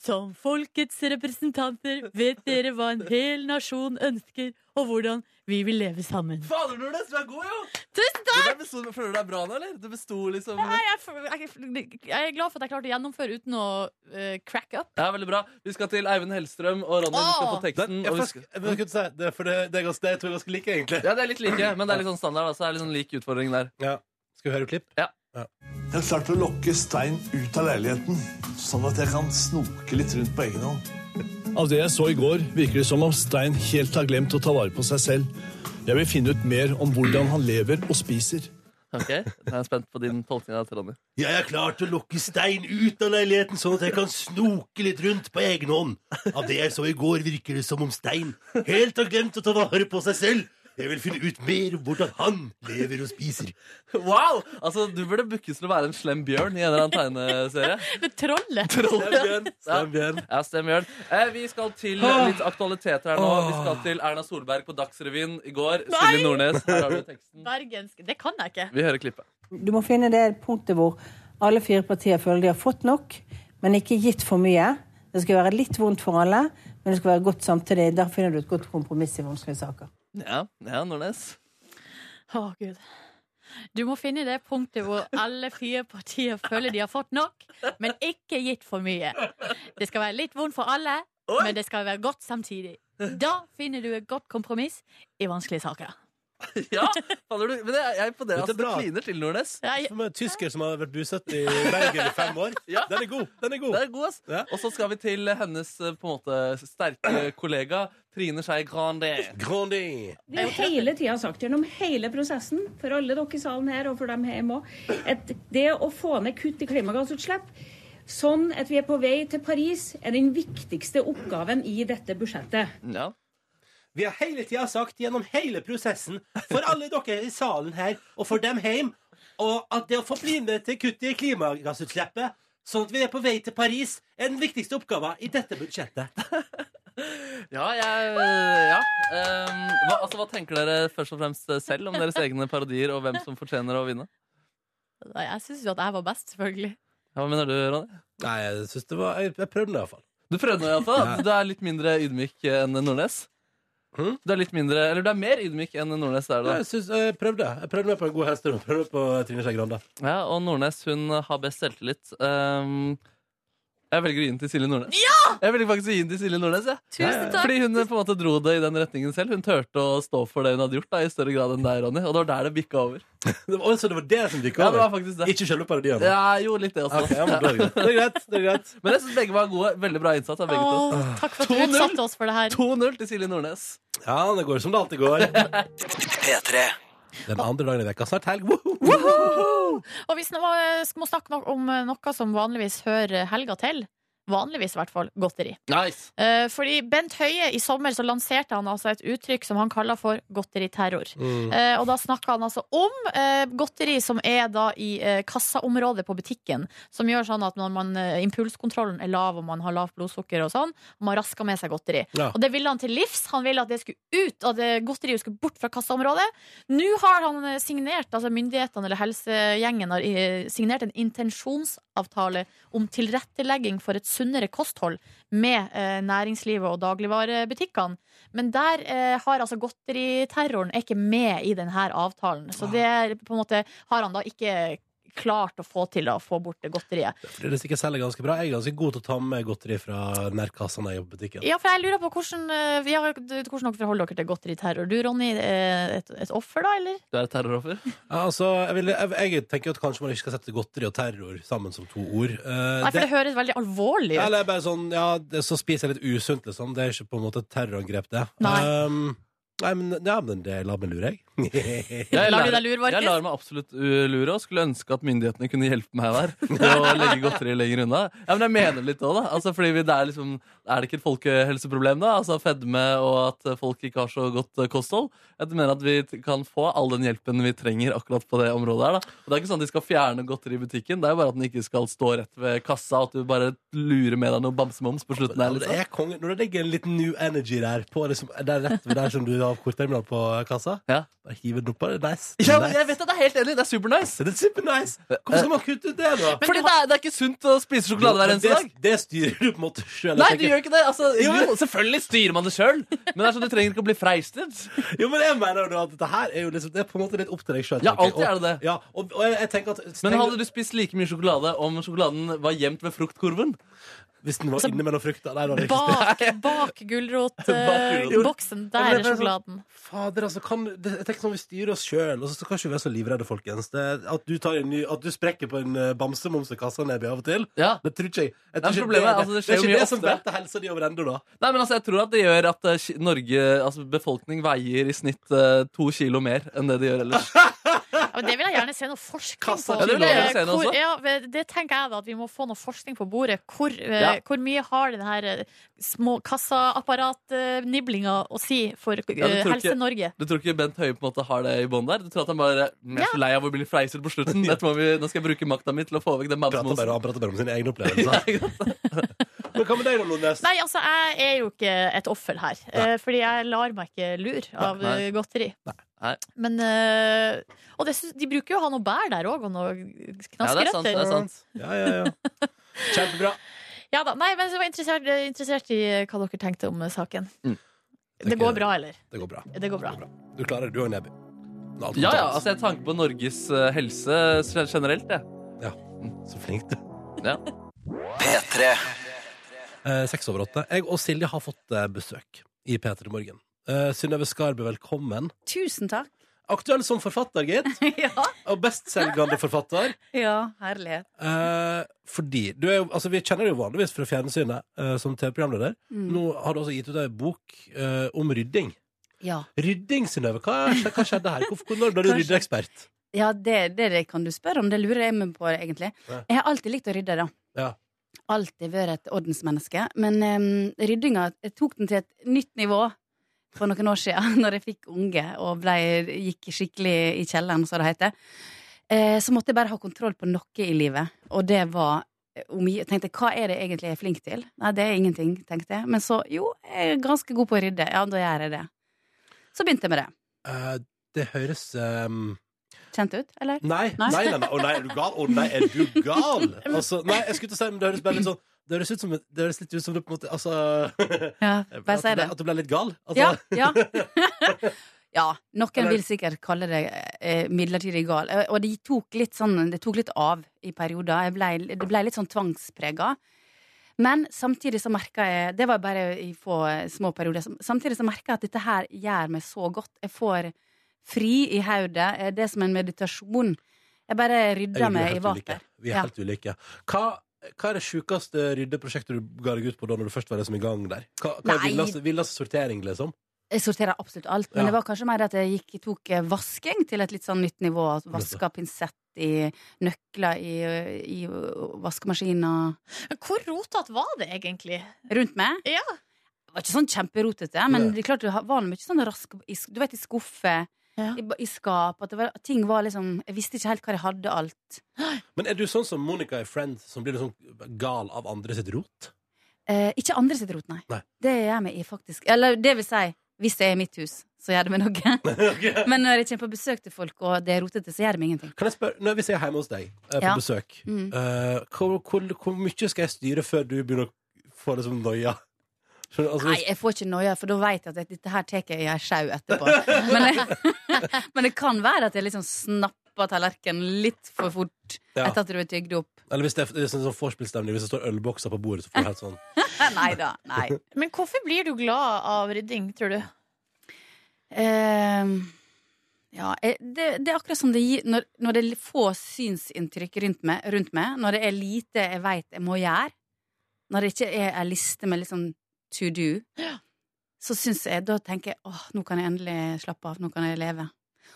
Som folkets representanter vet dere hva en hel nasjon ønsker, og hvordan vi vil leve sammen.
Fader, Nordnes, du er god, jo!
Tusen
Du der besto, føler du deg bra nå, eller? Du besto liksom
Nei, jeg, jeg, jeg er glad for at jeg klarte å gjennomføre uten å eh, crack up.
Ja, veldig bra. Vi skal til Eivind Hellstrøm og Ronny. Du skal få
Åh!
teksten.
Den, jeg,
og vi
faktisk,
skal...
jeg, jeg, si, det, er for det, det, er ganske, det tror jeg er ganske like, egentlig.
Ja, det er litt like, men det er litt sånn standard. Altså. Det er litt sånn lik utfordring der.
Ja. Skal vi høre klipp?
Jeg har klart å lokke Stein ut av leiligheten, sånn at jeg kan snoke litt rundt på egen hånd. Av det Altså, jeg så i går, virker det som om Stein helt har glemt å ta vare på seg selv. Jeg vil finne ut mer om hvordan han lever og spiser.
Ok, Jeg er spent på din tolkning av dette, Ronny.
Jeg er klar til å lokke stein ut av leiligheten, sånn at jeg kan snoke litt rundt på egen hånd. Av det jeg så i går, virker det som om Stein helt har glemt å ta vare på seg selv. Jeg vil finne ut mer om hvordan han lever og spiser.
Wow! Altså, Du burde bookes til å være en slem bjørn i en eller annen tegneserie.
Med trollet!
Trollbjørn. Ja.
Bjørn. Ah.
Ja, stem, Jørn. Eh, vi skal til eh, litt aktualiteter her nå. Vi skal til Erna Solberg på Dagsrevyen i går. Silje Nordnes, her har du teksten.
Bergensk. Det kan jeg ikke.
Vi hører klippet.
Du må finne det punktet hvor alle fire partier føler de har fått nok, men ikke gitt for mye. Det skal være litt vondt for alle, men det skal være godt samtidig. Der finner du et godt kompromiss i vanskelige saker.
Ja, ja Nordnes.
Å, Gud. Du må finne det punktet hvor alle fire partier føler de har fått nok, men ikke gitt for mye. Det skal være litt vondt for alle, men det skal være godt samtidig. Da finner du et godt kompromiss i vanskelige saker.
Ja, faller du, men jeg, jeg er imponert.
Dette
Altså,
er
det
bra.
kliner til, Nordnes.
Jeg,
Som en tysker som har vært bosatt i Bergen i fem år.
Ja.
Den er god. Den er god.
Det er god, ass.
Ja.
Og så skal vi til hennes eh, på en måte sterke kollega Trine Skei Grande.
Grandi.
Vi har hele tida sagt gjennom hele prosessen, for alle dere i salen her og for dem hjemme òg, at det å få ned kutt i klimagassutslipp sånn at vi er på vei til Paris, er den viktigste oppgaven i dette budsjettet.
Ja.
Vi har hele tida sagt gjennom hele prosessen, for alle dere i salen her, og for dem heim, og at det å få bli med til kuttet i klimagassutslippet, sånn at vi er på vei til Paris, er den viktigste oppgaven i dette budsjettet.
Ja, jeg Ja. Ehm, hva, altså, hva tenker dere først og fremst selv om deres egne parodier, og hvem som fortjener å vinne?
jeg syns jo at jeg var best, selvfølgelig.
Ja, Hva mener du, Ronny?
Nei, jeg syns det var Jeg, jeg prøvde det iallfall.
Du prøvde noe, iallfall. Du er litt mindre ydmyk enn Nordnes.
Hm?
Du er litt mindre, eller du er mer ydmyk enn Nordnes der, da.
Jeg, synes, jeg prøvde Jeg prøvde meg på en god hest. Jeg prøvde på Trine Skei Grande.
Ja, og Nordnes, hun har best selvtillit. Ehm, jeg velger å gi den til Silje Nordnes. Jeg velger faktisk å gi den til Silje Nordnes, jeg.
Tusen takk!
Fordi hun eh, på en måte dro det i den retningen selv. Hun turte å stå for det hun hadde gjort, da, i større grad enn deg, Ronny. Og det var der det bikka over.
Det var, altså, det var det som dukka
Ja, det var
over?
faktisk det.
Ikke selve parodien?
Ja, jo, litt det også.
Ok, ja, men da er det greit. Det er greit. det er greit
Men jeg syns begge var gode. Veldig bra innsats av begge to.
Åh, takk for at du
2-0.
utsatte oss for det her.
2-0 til Silje Nordnes.
Ja, det går som det alltid går. Den andre dagen i veka snart helg. Woho!
Og vi sn- må snakke nok om noe som vanligvis hører helga til. Vanligvis, i hvert fall. Godteri.
Nice.
Eh, Fordi Bent Høie i sommer så lanserte han altså et uttrykk som han kaller for godteriterror. Eh, og da snakker han altså om eh, godteri som er da i eh, kassaområdet på butikken. Som gjør sånn at når man, eh, impulskontrollen er lav og man har lavt blodsukker og sånn, og man rasker med seg godteri.
Ja.
Og det ville han til livs. Han ville at det skulle ut, at det godteriet skulle bort fra kassaområdet. Nå har han eh, signert, altså myndighetene eller helsegjengen har eh, signert en intensjonsavtale om tilrettelegging for et sunnere kosthold med eh, næringslivet og dagligvarebutikkene. Men der eh, har altså godteriterroren er ikke med i denne avtalen.
Ah.
Så det er, på en måte har han da ikke klart å få til da, å få bort det godteriet.
Det er sikkert selger ganske bra. Jeg er ganske god til å ta med godteri fra nærkassa når jeg jobber på butikken.
Ja, for jeg lurer på hvordan, eh, ja, hvordan dere forholder dere til godteriterror. Du, Ronny, eh, et, et offer da, eller?
Du er et terroroffer.
Ja, altså, jeg, vil, jeg, jeg tenker at kanskje man ikke skal sette godteri og terror sammen som to ord. Eh,
Nei, for
det-
det høres veldig alvorlig ut.
Eller bare sånn, ja, det, så spiser jeg litt usunt, liksom. Det er ikke på en måte et terrorangrep, det.
Nei.
Um, nei, men, ja, men det la meg lure, jeg.
Jeg
Lar du
lar-
deg lure, Markus?
Jeg lar meg absolutt uh, lure, og skulle ønske at myndighetene kunne hjelpe meg der. Med å legge godteri lenger unna. Ja, Men jeg mener litt òg, da. Altså, fordi vi, det er, liksom, er det ikke et folkehelseproblem, da? Altså Fedme og at folk ikke har så godt uh, kosthold. Jeg mener at vi t- kan få all den hjelpen vi trenger akkurat på det området her. da. Og Det er ikke sånn at de skal fjerne godteri i butikken, det er jo bare at den ikke skal stå rett ved kassa, og at du bare lurer med deg noe bamsemums på slutten her.
Men Det
liksom.
er konge. Når det ligger en liten new energy der, på, liksom, der rett ved der som du har kortterminal på kassa,
Ja.
Bare hive den opp av det. Nice.
Ja, men jeg vet at det er helt enig. Det er supernice.
Det er supernice. Hvorfor skal man kutte ut det, da?
Fordi det er, det er ikke sunt å spise sjokolade hver eneste
det,
dag.
Det styrer du på en måte sjøl.
Nei, du gjør ikke det. Altså,
Jo, men-
du, selvfølgelig styrer man det sjøl, men det er sånn, du trenger ikke å bli freistet.
Jo, men jeg mener jo da at dette her er jo liksom Det er på en måte litt opp til deg sjøl.
Ja, alltid er det det.
Ja, og, og jeg, jeg tenker at
Men hadde du spist like mye sjokolade om sjokoladen var gjemt ved fruktkurven?
Hvis den var inne mellom frukta Nei, da hadde jeg ikke spist.
Bak, bak
gulrot.
gulrotboksen.
Ja,
Der
men
er
det er sånn-
sjokoladen.
Fader, altså, kan, det, jeg tenker sånn, Vi styrer oss sjøl, og så kan ikke vi være så livredde, folkens. Det, at, du tar en ny, at du sprekker på en eh, bamsemums og kassaneby av og til,
Ja.
det tror ikke jeg. jeg
Ja,
tror ikke
problemet er,
det,
altså, det
det
skjer
er
jo mye
ikke det som
oftere.
velter helsa di over ende, da.
Nei, men altså, Jeg tror at det gjør at eh, Ki- Norge, altså befolkning veier i snitt eh, to kilo mer enn det de gjør ellers.
Ja, men det vil jeg gjerne se noe forskning på.
Ja, det vil jeg gjerne se noe
hvor,
også.
ja, det tenker jeg da, at vi må få noe forskning på bordet. Hvor, eh,
Ja.
hvor mye har den her eh, små kassaapparatniblinga å si for eh,
Ja, du tror ikke-
Helse-Norge?
Du tror ikke Bent Høie på en måte har det i bånd der? Du tror at han bare Jeg er så lei av å bli fleiset på slutten. Dette må vi, nå skal jeg bruke makta mi til å få vekk den
Prater
mammosen.
bare, han prater bare om sine egne opplevelser. Men hva med deg, da, Nordnes?
Nei, altså, jeg er jo ikke et offer her. eh, Fordi jeg lar meg ikke lure av
Nei.
eh, godteri.
Nei.
Men eh, Og det, syns- de bruker jo å ha noe bær der òg, og noe
Ja, det er sant. det
knaskerøtter.
er sant
Ja, ja, ja. Kjempebra.
Ja da, nei, men jeg var interessert, interessert i hva dere tenkte om eh, saken.
Mm.
Det går bra, eller?
Det går bra.
Det går bra.
Du klarer det, du og Neby. Alt
Ja, ja,
godt.
altså jeg har tanke på Norges eh, helse gen- generelt, jeg.
Så flink du
Ja.
Eh, Seks over åtte. Jeg og Silje har fått eh, besøk i P3 Morgen. Eh, Synnøve Skarbø, velkommen.
Tusen takk.
Aktuell som forfatter, gitt.
Ja,
Og bestselgende forfatter.
ja herlighet.
Eh, fordi du er jo, altså Vi kjenner deg jo vanligvis fra fjernsynet eh, som TV-programleder.
Mm.
Nå har du også gitt ut ei bok eh, om rydding.
Ja.
Rydding, Synnøve. Hva, skj- hva skjedde her? Hvorfor, når ble du
Kanskje-
ryddeekspert?
Ja, det, det, det kan du spørre om. Det lurer jeg meg på, egentlig.
Ja.
Jeg har alltid likt å rydde, da.
Ja.
Alltid vært et ordensmenneske. Men em, ryddinga jeg tok den til et nytt nivå for noen år siden, når jeg fikk unge og ble, gikk skikkelig i kjelleren, som det heter. Eh, så måtte jeg bare ha kontroll på noe i livet, og det var eh, omgi- jeg tenkte, Hva er det egentlig jeg er flink til? Nei, det er ingenting, tenkte jeg. Men så, jo, jeg er ganske god på å rydde. Ja, da gjør jeg det. Så begynte jeg med det.
Eh, det høres eh,
Kjent ut, eller?
Nei, nei,
Nei.
nei, nei. Å nei, er du gal? Å nei, er du gal? Altså, nei, jeg skulle til å si, men det høres bare litt sånn Det høres, ut som, det høres litt ut som du på en måte Altså
Ja, bare
at,
si
du ble,
det.
at du ble litt gal? Altså,
Ja, ja. ja, noen
Eller-
vil sikkert kalle det eh, midlertidig gal. Eh, Og det tok litt, sånn, det tok litt av i perioder. Jeg ble, det ble litt sånn tvangsprega. Men samtidig så merka jeg Det var bare i få eh, små perioder. Sam- Samtidig så merka jeg at dette her gjør meg så godt. Jeg får fri i hodet. Eh, Det er som en meditasjon. Jeg bare
jeg vil- vi
rydder
er
meg i
helt ulike.
vater.
Vi er
Ja.
helt ulike. Hva, hva er det sjukeste ryddeprosjektet du ga deg ut på da når du først var liksom i gang der? Hva, hva er
Nei.
villeste, villeste sortering, liksom?
Jeg sorterer absolutt alt, men
Ja.
det var kanskje mer at jeg gikk, tok eh, vasking til et litt sånn nytt nivå. at Vaska pinsett i nøkler i, i vaskemaskiner
Men hvor rotete var det egentlig?
rundt meg.
Ja.
Det var ikke sånn kjemperotete, men
Nei.
det er klart det var mye sånn rask i, sk- Du vet, i skuffer,
Ja.
i, ba- i skap at det var, Ting var liksom Jeg visste ikke helt hva jeg hadde alt.
Men er du sånn som Monica i Friends, som blir liksom gal av andre sitt rot?
Eh, ikke andre sitt rot, nei.
Nei.
Det gjør vi i faktisk Eller det vil si, hvis jeg er i mitt hus, så gjør det meg noe.
Ok.
men når jeg kommer på besøk til folk, og det er rotete, så gjør det meg ingenting.
Kan jeg spørre, når, Hvis jeg er hjemme hos deg eh, på
Ja.
besøk,
Mm.
eh, hvor, hvor, hvor mye skal jeg styre før du begynner å få liksom noia? Skjønner du? Altså, hvis-
Nei, jeg får ikke noia, for da vet jeg at dette her tar jeg i ei sjau etterpå. Men, jeg, men det kan være at jeg liksom snapper tallerkenen litt for fort
Ja.
etter at du er tygd opp.
Eller hvis det er, det er sånn sånn vorspielstemning, hvis det står ølbokser på bordet, så får du helt sånn
Nei da. Nei.
Men hvorfor blir du glad av rydding, tror du?
Ehm, ja, jeg- det, det er akkurat som det gir Når, når det er få synsinntrykk rundt meg, rundt meg, når det er lite jeg vet jeg må gjøre, når det ikke er ei liste med liksom to do, så syns jeg Da tenker jeg åh, nå kan jeg endelig slappe av, nå kan jeg leve.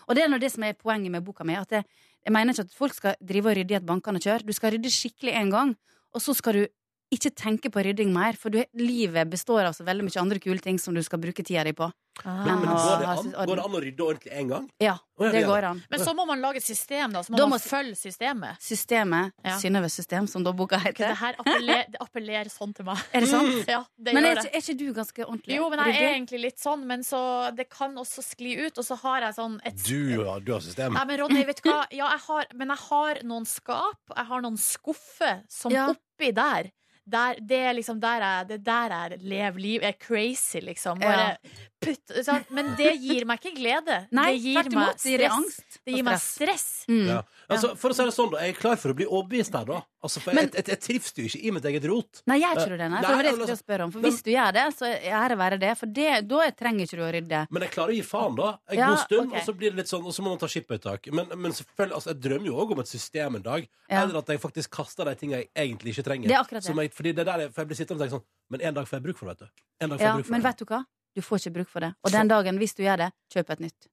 Og det er nå det som er poenget med boka mi. At jeg, jeg mener ikke at folk skal drive og rydde i et bankende kjør. Du skal rydde skikkelig én gang, og så skal du ikke tenke på rydding mer, for du, livet består av så veldig mye andre kule ting som du skal bruke tida di på.
Men
enn å
Ah.
går, det
ha
an,
sin orden.
går det an å rydde ordentlig én gang?
Ja,
Å, ja,
det
ja.
går an.
Men så må man lage et system, da. Så må
Da
man
må-
følge systemet.
Systemet,
Ja.
Synnøve System, som da boka
Ok, det
heter.
her appeller, det appellerer sånn til meg.
Er det sant?
Ja, det
Men
gjør
er
det.
ikke, er ikke du ganske ordentlig?
Jo, men jeg er
ryddig?
egentlig litt sånn, men så det kan også skli ut. Og så har jeg sånn et
Du, ja, du har system.
Nei, men Ronny, vet du hva? Ja, jeg har, men jeg har noen skap, jeg har noen skuffer som oppi der. Der, det er liksom der jeg, det er der jeg lever liv, er crazy, liksom. Bare putt, sant? Men det gir meg ikke glede.
Nei,
det gir meg
tvert imot, det gir deg
stress.
angst
Det gir
og
meg stress.
stress.
Ja. Altså, for å si det sånn, da, jeg er klar for å bli overbevist her, da. Altså, for jeg, jeg, jeg trives jo ikke i mitt eget rot.
Nei, jeg tror det. Nei, for det var det jeg
men
skulle
altså,
spørre om. For hvis du gjør det, så ære være det. For det, da trenger ikke du å rydde.
men jeg klarer å gi faen, da. En
Ja,
god stund,
ok.
og så blir det litt sånn, og så må man ta skippertak. Men, men selvfølgelig, altså, jeg drømmer jo òg om et system en dag.
Ja.
Eller at jeg faktisk kaster de tingene jeg egentlig ikke trenger.
Det er akkurat det.
Som jeg, fordi det der er, for jeg blir sittende og tenke sånn Men en dag får jeg bruk for det, vet du. En dag får
Ja,
jeg bruk for
men
det.
vet du hva? Du får ikke bruk for det. Og den dagen, hvis du gjør det, kjøp et nytt.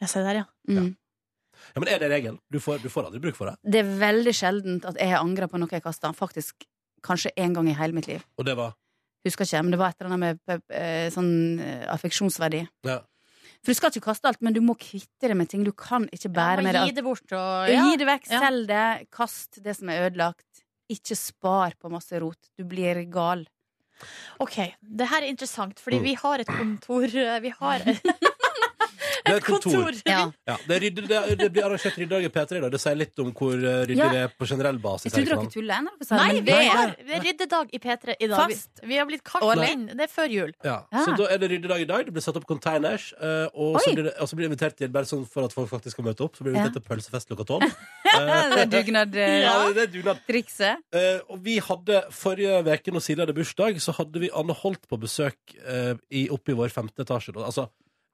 Ja, se der, ja.
Mm.
Ja, men er det regelen? Du får, du får aldri bruk for det.
Det er veldig sjeldent at jeg har angret på noe jeg kasta. Faktisk kanskje én gang i hele mitt liv.
Og det var
Husker ikke, men det var et eller annet med eh, sånn eh, affeksjonsverdi.
ja.
For du skal ikke kaste alt, men du må kvitte deg med ting. Du kan ikke bære med
Bare gi
deg
det bort og
Gi det vekk, selg det, kast det som er ødelagt. Ikke spar på masse rot. Du blir gal.
OK, det her er interessant, fordi
Mm.
vi har et kontor eh, Vi har
Det er et kontor.
kontor.
Ja. det, er rydde, det, det blir arrangert ryddedag i P3 i dag. Det sier litt om hvor eh, ryddig
Ja.
det er på generell basis.
Jeg trodde
her i
dere
kanalen.
tulla ennå.
Nei, vi har det er ryddedag i P3 i dag.
Fast.
Vi, vi har blitt kalt
Årlig.
inn. Det er før jul.
Ja. Så da er det ryddedag i dag. Det blir satt opp containers. eh, og, så
Ah. Oi.
blir det, og så blir det invitert til, bare sånn for at folk faktisk skal møte opp, så blir det
Ja.
invitert til pølsefest klokka tolv.
Det er dugnad, eh,
Ja, det er dugnad.
Trikset.
Eh, og vi hadde Forrige uke, når Silje hadde bursdag, så hadde vi Anne Holt på besøk eh, i, oppe i vår femte etasje. da. Altså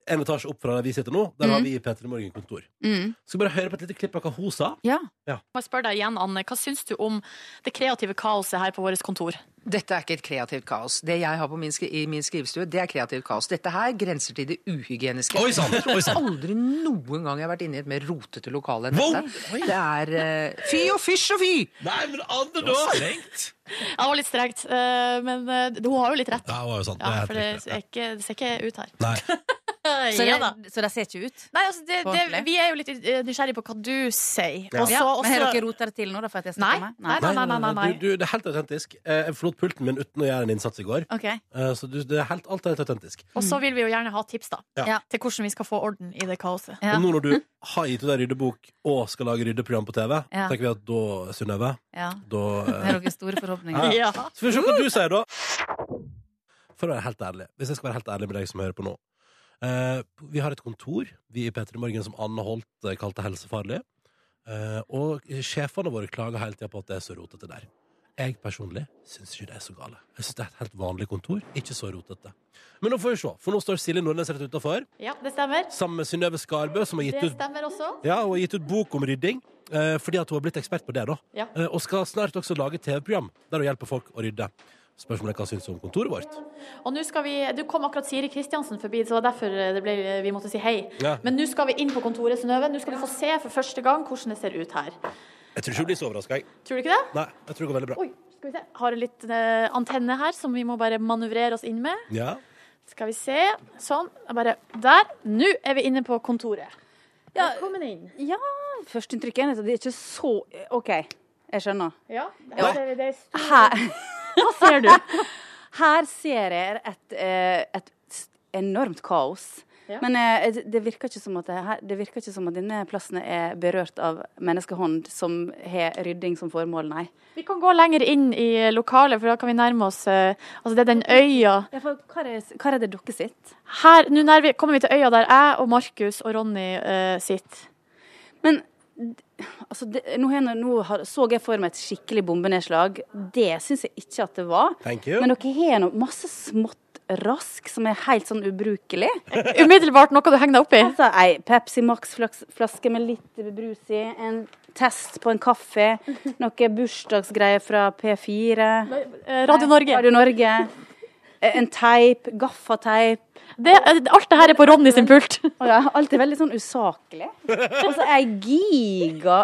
en etasje opp fra der vi sitter nå. Der har
Mm.
vi P3 Morgen-kontor.
Mm.
Skal vi bare høre på et lite klipp av hva hun sa?
Ja.
ja.
Må jeg spørre deg igjen, Anne. Hva syns du om det kreative kaoset her på vårt kontor?
Dette er ikke et kreativt kaos. Det jeg har på min skri i min skrivestue, det er kreativt kaos. Dette her grenser til det uhygieniske.
Oi, sant. Oi, sant.
Aldri noen gang jeg har vært inne i et mer rotete lokale enn
Wow.
dette. Det er eh, fy og fysj og fy!
Nei, men Anne,
da!
Ja, det var litt strengt, eh, men eh, hun har jo litt rett.
Ja, det var jo sant. Det er
Ja,
helt
for det ser ikke, det ser ikke ut her.
Nei.
Så
ja
det-
da.
Så det ser ikke ut?
Nei, altså, det,
På
det,
ordentlig.
vi er jo litt eh, nysgjerrige på hva du sier.
Ja.
Og så-
Ja,
men har
også-
dere rota det til nå, da? For at jeg
Nei.
snakker meg?
Nei, nei, nei, nei, nei.
Du, du, det er helt autentisk. Eh, Jeg forlot pulten min uten å gjøre en innsats i går.
Ok.
Eh, Så du, det er helt, alt er helt autentisk.
Og så vil vi jo gjerne ha tips da
Ja.
til hvordan vi skal få orden i det kaoset.
Og nå når du har gitt ut ei ryddebok og skal lage ryddeprogram på TV,
Ja.
tenker vi at da, Synnøve
Ja.
Da eh,
Har dere store forhåpninger?
ja. Så får vi se hva du sier, da. For å være helt ærlig, hvis jeg skal være helt ærlig med deg som hører på nå eh, Vi har et kontor, vi i P3 Morgen, som Anne Holt eh, kalte helsefarlig. Eh, og sjefene våre klager hele tida på at det er så rotete der. Jeg personlig syns ikke det er så gale. Jeg syns det er et helt vanlig kontor, ikke så rotete. Men nå får vi se, for nå står Silje Nordnes rett utafor
Ja, det stemmer.
sammen med Synnøve Skarbø, som har gitt
Det
ut
stemmer også.
ja, hun har gitt ut bok om rydding, eh, fordi at hun har blitt ekspert på det. da.
Ja.
Eh, og skal snart også lage TV-program der hun hjelper folk å rydde. Spørsmålet er hva hun syns om kontoret vårt.
Og nå skal vi, Du kom akkurat Siri Kristiansen forbi, så det var derfor eh, det ble, vi måtte si hei.
Ja.
Men nå skal vi inn på kontoret, Synnøve. Nå skal du få se for første gang hvordan det ser ut her.
Jeg tror ikke hun blir så overraska.
Tror du ikke det?
Nei, jeg tror det går veldig bra.
Oi, skal vi se. Har en litt eh, antenne her som vi må bare manøvrere oss inn med.
Ja.
Skal vi se. Sånn. Jeg Bare der. Nå er vi inne på kontoret. Velkommen inn.
Ja, førsteinntrykket er at det er ikke så OK, jeg skjønner.
Ja,
Ja.
her ser vi det er stor-
Her,
Hva ser du?
her ser jeg et, eh, et s- enormt kaos.
Ja.
Men eh, det- det virker, ikke som at det, her, det virker ikke som at denne plassen er berørt av menneskehånd som har rydding som formål, nei.
Vi kan gå lenger inn i eh, lokalet, for da kan vi nærme oss eh, Altså, det er den øya
Ja, for Hva er, det- hva er det dere sitt?
Her, nå nær vi, kommer vi til øya der jeg og Markus og Ronny eh, sitter.
Men altså, det, nå, har jeg- nå har- så jeg for meg et skikkelig bombenedslag. Det syns jeg ikke at det var.
Thank you.
Men dere har nå masse smått rask som er helt sånn ubrukelig.
Umiddelbart noe du henger deg opp i.
Altså, ei Pepsi Max-flaske med litt brus i, en test på en kaffe, noe bursdagsgreier fra P4
Eh, Radio Norge.
Radio Norge. En teip, gaffateip.
alt det her er på Ronny sin pult.
ja, alt er veldig sånn usaklig. Og så ei giga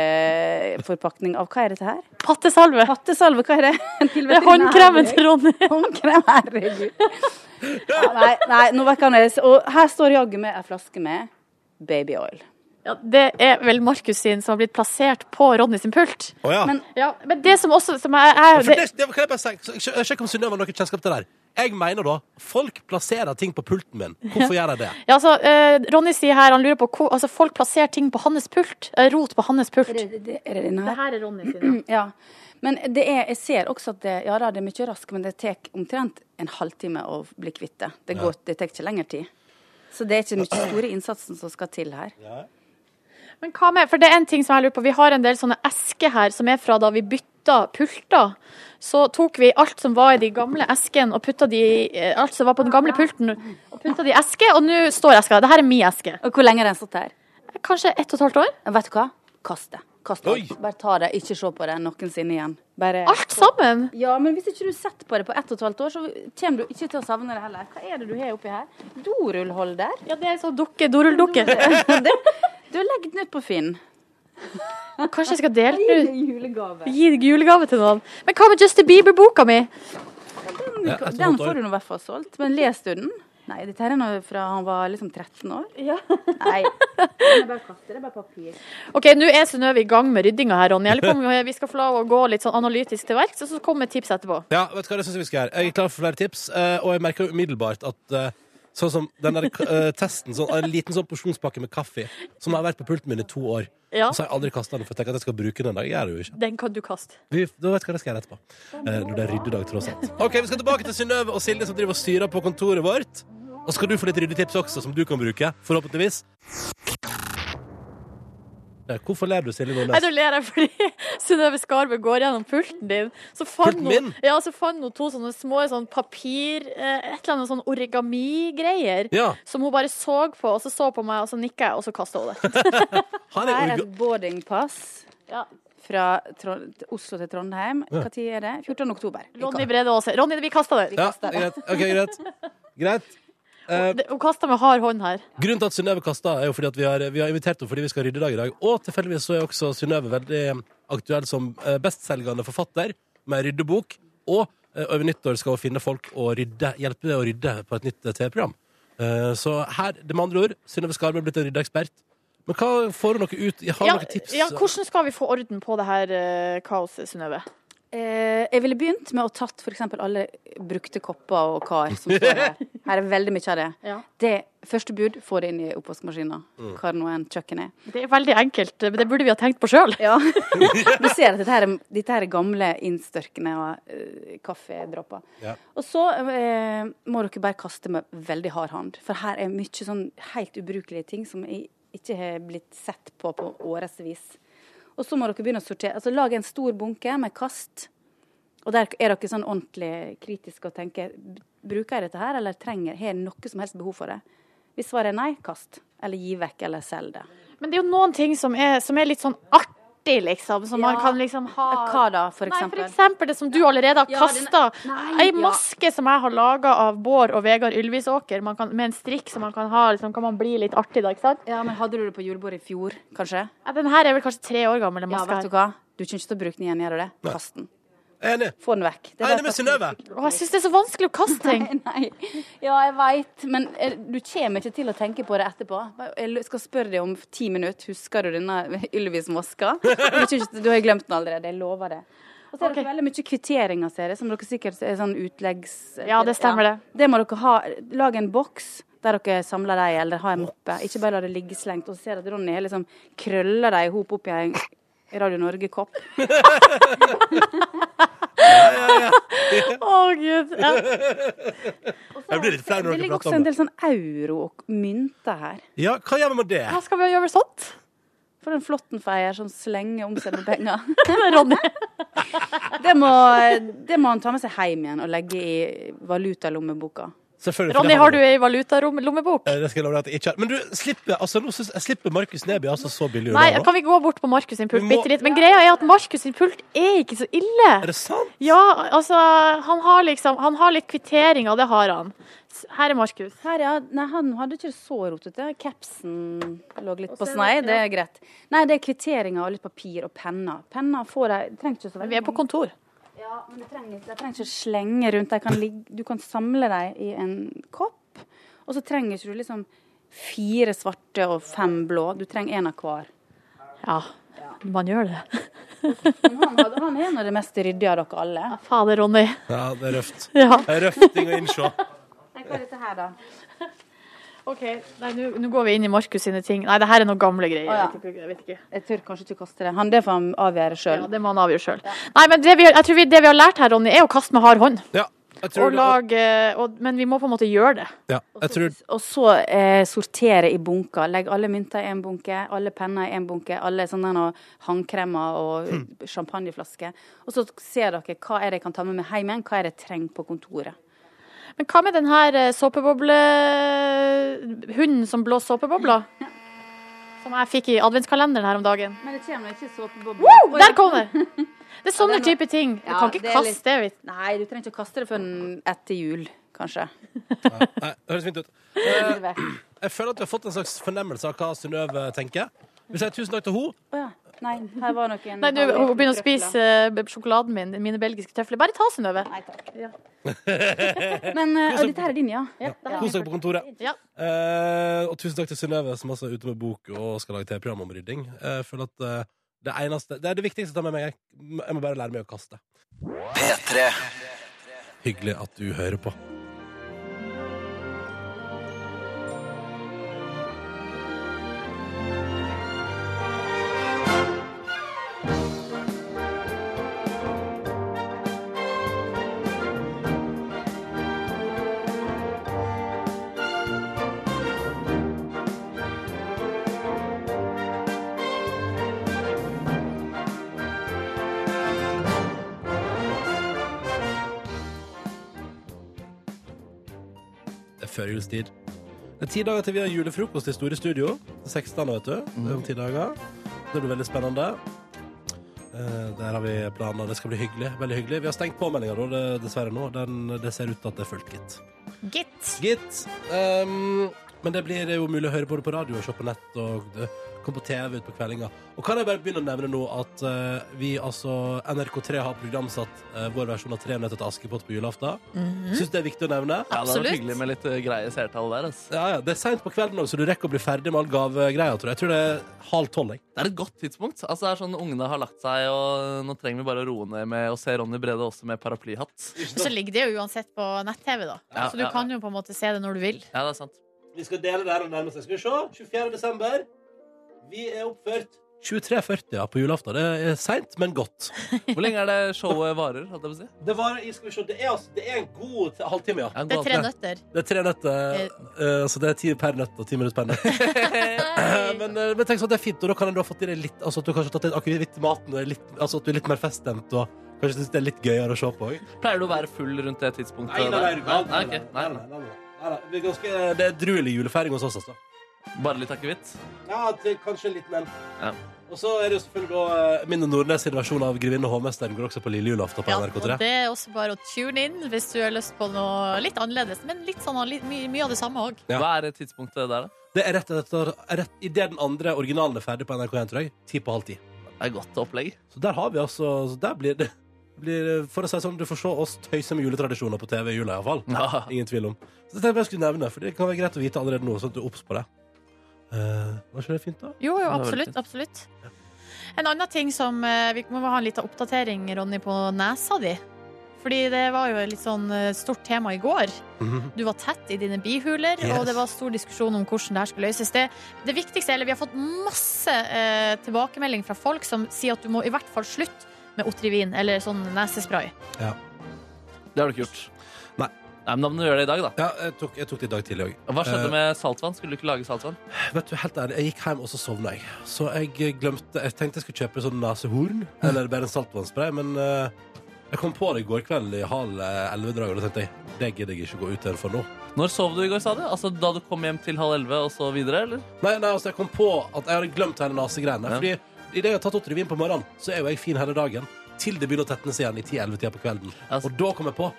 økonomiforpakning av hva er dette her?
Pattesalve.
Pattesalve, hva er det? Til
Det er håndkremen til Ronny.
Håndkrem, herregud. Ja, nei, nei, nå vekker han det. Og her står jaggu meg ei flaske med baby oil.
Ja, det er vel Markus sin som har blitt plassert på Ronny sin pult.
Å ja.
Men, ja, men det som også som er,
Ja,
er
for det, det, kan jeg bare si, så- sjekk- Sjekk om Synnøve har noe kjennskap til det der. Jeg mener da, folk plasserer ting på pulten min. Hvorfor gjør de det?
ja, altså, eh, Ronny sier her, han lurer på hvor altså, folk plasserer ting på hans pult. eh, rot på hans pult. Mm.
Er det, det, er det denne her?
her er Ronny sin,
ja. Men det er, jeg ser også at det, ja, da, det er mye raskt, men det tar omtrent en halvtime å bli kvitt det. Det
Ja.
går- det tar ikke lengre tid. Så det er ikke mye store innsatsen som skal til her.
Men hva med, for det er en ting som jeg lurer på. Vi har en del sånne esker her som er fra da vi bytta pulter. Så tok vi alt som var i de gamle esken og putta de eh, alt som var på den gamle pulten, og putta de i eske, og nå står eska der. Dette er min eske.
Og hvor lenge har den stått der?
Kanskje ett og et halvt år.
Vet du hva? Kast det. Kast det. Bare ta det, ikke se på det noensinne igjen. Bare...
Alt sammen?
Ja, men hvis ikke du setter på det på ett og et halvt år, så kommer du ikke til å savne det heller. Hva er det du har oppi her? Dorullholder?
Ja, det er sånn dukke, dorulldukke.
Du har legget den ut på Finn.
Kanskje jeg skal dele den ut?
Julegave.
Gi julegave til noen. Men hva med Justin Bieber-boka mi?
Ja, et og et
Den
halvt år.
får du nå i hvert fall solgt, men les du den? Nei, dette her er nå fra han var liksom 13 år. Nei. Den er bare kaster, det er bare papir.
OK, nå er Synnøve i gang med ryddinga her, Ronny. Jeg lurer på om vi skal få lov å gå litt sånn analytisk til verks, og så kommer tips etterpå.
Ja, vet du hva, det synes jeg vi skal gjøre. Jeg er klar for flere tips, eh, og jeg merker jo umiddelbart at eh, sånn som den der eh, testen, sånn, en liten sånn porsjonspakke med kaffe, som har vært på pulten min i to år,
Ja.
og så har jeg aldri kastet den, for jeg tenker at jeg skal bruke den en dag. Jeg gjør det jo ikke.
Den kan du kaste.
Vi, da vet jeg hva jeg skal gjøre etterpå. Eh, når det er ryddedag, tross alt. OK, vi skal tilbake til Synnøve og Silje som driver og styrer på kontoret vårt. Og så skal du få litt ryddetips også, som du kan bruke, forhåpentligvis. Eh, Hvorfor ler du, Silje
Nei,
Nordnes?
nå ler jeg fordi Synnøve Skarbø går gjennom pulten din. Så fant
Pulten
hun-
min?
Ja, så fant hun to sånne små sånn papir eh, Et eller annet sånn origami-greier.
Ja.
Som hun bare så på, og så så på meg, og så nikka jeg, og så kasta hun det.
Her er et boardingpass fra Trond Oslo til Trondheim.
Ja.
Hva tid er det? 14. oktober.
Ronny Brede Aase. Ronny, vi kasta det.
Ja, greit. OK, greit. Greit. Eh,
Hun kasta med hard hånd her.
Grunnen til at Synnøve kasta, er jo fordi at vi har, vi har invitert henne fordi vi skal rydde i dag i dag. Og tilfeldigvis så er også Synnøve veldig aktuell som eh, bestselgende forfatter med ryddebok. Og eh, over nyttår skal hun finne folk og rydde, hjelpe å rydde på et nytt eh, TV-program. Eh, Så her, det med andre ord, Synnøve Skarbe er blitt en ryddeekspert. Men hva får hun noe ut? Jeg har
Ja,
noen tips.
ja, hvordan skal vi få orden på det her eh, kaoset, Synnøve?
Eh, jeg ville begynt med å tatt f.eks. alle brukte kopper og kar som står her. Her er veldig mye av det. Det første bud, få det inn i oppvaskmaskinen.
Mm.
Hva nå enn kjøkkenet er.
Det er veldig enkelt, eh, men det burde vi ha tenkt på sjøl.
Ja. Du ser at dette her, er- dette her er gamle innstørkende eh, kaffedråper.
Ja.
Og så eh, må dere bare kaste med veldig hard hånd. For her er mye sånn helt ubrukelige ting som i- ikke har blitt sett på på årevis. Og så må dere begynne å sortere. Altså lage en stor bunke med kast. Og der er dere sånn ordentlig kritiske og tenker "B- Bruker jeg dette her, eller trenger har jeg noe som helst behov for det? Hvis svaret er nei, kast. Eller gi vekk, eller selg det.
Men det er jo noen ting som er, som er litt sånn artig, liksom. Som man
Ja.
kan liksom ha
Hva da, for
Nei,
eksempel?
for eksempel det som du allerede har
Ja, den-
kasta. Ei
Nei, ja.
maske som jeg har laga av Bård og Vegard Ylvisåker, man kan, med en strikk som man kan ha, liksom, kan man bli litt artig da, ikke sant?
Ja, men hadde du det på julebordet i fjor, kanskje?
Ja, den her er vel kanskje tre år gammel, den
Ja,
maska
vet du hva? Du kommer ikke til å bruke den igjen, gjør du det?
Nei.
Kast den.
Enig.
Få den vekk. Det er
Enig
bare
med Synnøve.
Å, jeg syns det er så vanskelig å kaste ting.
nei, nei. Ja, jeg veit, men eh, du kommer ikke til å tenke på det etterpå. Jeg l- skal spørre deg om ti minutter. Husker du denne Ylvis-maska? Du, kommer ikke- du har glemt den allerede, jeg lover det. Og så er det veldig mye kvitteringer, ser jeg, som dere sikkert er sånn utleggs...
Ja, det stemmer det.
Det må dere ha. Lag en boks der dere samler dem, eller ha en moppe. Ikke bare la det ligge slengt. Og så ser jeg at Ronny har liksom krøller dem i hop oppi en Radio Norge-kopp.
Å, gud. Ja.
Jeg blir litt flau
Det
når dere prater
ligger også en
om det.
del sånn euro og mynter her.
Ja, hva gjør vi med det?
Hva skal vi gjøre med sånt?
For en flåttenfeier som slenger om seg med penger.
Ronny.
Det må, det må han ta med seg hjem igjen og legge i valutalommeboka.
Selvfølgelig. for
Ronny,
det
har du ei valutarommebok?
Eh, Det skal jeg love deg at jeg ikke har. Men du slipper, altså, nå synes, jeg slipper Markus Neby altså så billig.
Nei,
unna nå.
kan vi gå bort på Markus sin pult
Vi må-
bitte litt? Men greia er at Markus sin pult er ikke så ille.
Er det sant?
Ja, altså, han har liksom Han har litt kvitteringer, det har han. S- Her er Markus.
Her, ja. Nei, han hadde ikke det så rotete. Capsen lå litt på snei, det er greit. Nei, det er kvitteringer og litt papir og penner. Penner får jeg trenger ikke så veldig
Vi er på kontor.
Ja, men jeg trenger, jeg trenger ikke slenge rundt. Jeg kan ligge, du kan samle deg i en kopp, og så trenger ikke du liksom fire svarte og fem blå. Du trenger én av hver.
Ja, man gjør det.
Men han, hadde- han er en av de mest ryddige av dere alle.
Fader, Ronny.
Ja, det er røft.
Ja.
Det er røft ting å innse.
Nei, hva er dette her, da?
OK, nei, nå- nå går vi inn i Markus sine ting. Nei, det her er noen gamle greier.
Å, ja.
Jeg vet ikke- jeg vet ikke.
Jeg tør kanskje ikke kaste det. Han, det får han avgjøre sjøl.
Ja, det må han avgjøre sjøl. Nei, men det vi, jeg tror vi, det vi har lært her, Ronny, er å kaste med hard hånd.
Ja, jeg
tror
og
det-
lage, eh, og, men vi må på en måte gjøre det.
Ja, jeg tror
Og så eh, sortere i bunker. Legg alle mynter i en bunke, alle penner i en bunke, alle sånne her håndkremer og champagneflasker. Og så ser dere hva er det jeg kan ta med meg hjem igjen, hva er det jeg trenger på kontoret.
Men hva med den her eh, såpeboble... Hunden som blåser såpebobler? Som jeg fikk i adventskalenderen her om dagen.
Men det kommer ikke såpebobler.
Wow, der kom det! Det er sånne
Ja, det er
type ting. Du
Ja,
kan ikke
det er litt-
kaste det. vet du.
Nei, du trenger ikke å kaste det før den etter jul, kanskje.
Nei, det høres fint ut. Eh, Jeg føler at vi har fått en slags fornemmelse av hva Synnøve tenker. Vi sier tusen takk til henne.
Å ja. Nei, her var noen
Nei, du hun begynner å spise eh, sjokoladen min, mine belgiske trøfler. Bare ta, Synnøve. Ja.
Men eh, og dette her er din, ja?
Kos dere på kontoret.
Ja.
Eh, og tusen takk til Synnøve, som altså er ute med bok og skal lage TV-program om rydding. Eh, Jeg føler at eh, det eneste Det er det viktigste å ta med meg. Jeg jeg må bare lære meg å kaste.
P3.
Hyggelig at du hører på. Det er førjulstid. Det er ti dager til vi har julefrokost i Store Studio. 16, vet du. Det er om ti dager. Det blir veldig spennende. Eh, der har vi planer. Det skal bli hyggelig. Veldig hyggelig. Vi har stengt påmeldinga da, det- dessverre nå. Den, det ser ut til at det er fullt, gitt.
Gitt.
Gitt. Ehm, men det blir jo mulig å høre både på radio og se på nett og det kom på TV ut på kveldinga. Og kan jeg bare begynne å nevne nå at eh, vi, altså NRK3, har programsatt eh, vår versjon av Tre nøtter til Askepott på julaften.
Mhm.
Syns det er viktig å nevne.
Ja, det var hyggelig med litt eh, greie seertall der. altså. ass.
Ja, ja, Det er seint på kvelden også, så du rekker å bli ferdig med all gavegreia. tror Jeg Jeg tror det er halv tolv. jeg.
Det er et godt tidspunkt. Altså, det er sånn Ungene har lagt seg, og nå trenger vi bare å roe ned med å se Ronny Brede også med paraplyhatt.
Men så ligger det jo uansett på nett-TV, da.
Ja,
så du
ja, ja.
kan jo på en måte se det når du vil.
Ja, det er sant.
Vi skal dele det her og nærme seg. Skal vi se. 24. desember. Vi er oppført. 23.40 ja, på julaften. Det er seint, men godt.
Hvor lenge er det showet varer? Holdt jeg på å si?
Det, var, skal vi se, det, er, altså, det er en god t- halvtime, ja.
Det er tre nøtter.
Det er tre nøtter, eh, så det er ti per nøtt og ti minutter per nøtt. men, eh, men tenk sånn at det er fint, og da kan en da ha fått i deg litt Altså at du kanskje har tatt litt akevitt i maten, og er litt, altså at du er litt mer feststemt, og kanskje syns det er litt gøyere å se på òg.
Pleier du å være full rundt det tidspunktet?
Nei, nei, nei,
der?
du kan-
nei, ok. nei, nei.
Det er ganske Det er druelig julefeiring hos oss, altså.
Bare litt akevitt?
Ja, til kanskje en liten en.
Ja.
Og så er det jo selvfølgelig da eh, min og Nordnes sin versjon av 'Grevinne og hovmesteren' går også på lille julaften på
Og
NRK3.
det er også bare å tune inn hvis du har lyst på noe litt annerledes, men litt sånn, litt, mye, mye av det samme òg.
Hva er tidspunktet der, da?
Det er rett etter rett, Idet den andre originalen er ferdig på NRK1, tror jeg. Ti på halv ti.
Det er godt opplegg.
Så der har vi altså så Der blir det blir, For å si det sånn, du får se oss tøyse med juletradisjoner på TV i jula, iallfall.
Ja.
Ingen tvil om. Så det tenkte jeg bare jeg skulle nevne, for det kan være greit å vite allerede nå, sånn at du er obs på det. Eh, var ikke det fint, da?
Jo,
Det
jo,
var veldig
absolutt.
fint.
absolutt. En annen ting som eh, Vi må ha en liten oppdatering, Ronny, på nesa di. Fordi det var jo et litt sånn eh, stort tema i går.
Mhm.
Du var tett i dine bihuler,
Yes.
og det var stor diskusjon om hvordan det her skulle løses. Det, det viktigste, eller Vi har fått masse eh, tilbakemelding fra folk som sier at du må i hvert fall slutte med Otrivin eller sånn nesespray.
Det har du ikke gjort.
Nei.
Men da må du gjøre det i dag, da.
Ja, jeg tok, jeg tok det i dag tidlig òg.
Hva skjedde med saltvann? Skulle du ikke lage saltvann?
Vet du, helt ærlig, Jeg gikk hjem, og så sovna jeg. Så jeg glemte Jeg tenkte jeg skulle kjøpe sånn nesehorn, eller bare en saltvannspray, men eh, Jeg kom på det i går kveld i halv eh, elleve-draget, og da tenkte jeg det gidder jeg ikke gå ut her for nå.
Når sov du i går, sa du? Altså Da du kom hjem til halv elleve og så videre, eller?
Nei, nei, altså jeg kom på at jeg hadde glemt hele nasegreiene. Fordi i det jeg har tatt åtte revyen på morgenen, så er jo jeg fin hele dagen. Til det begynner å tetnes igjen i 10-11-tida på kvelden.
Altså-
Og da kom jeg på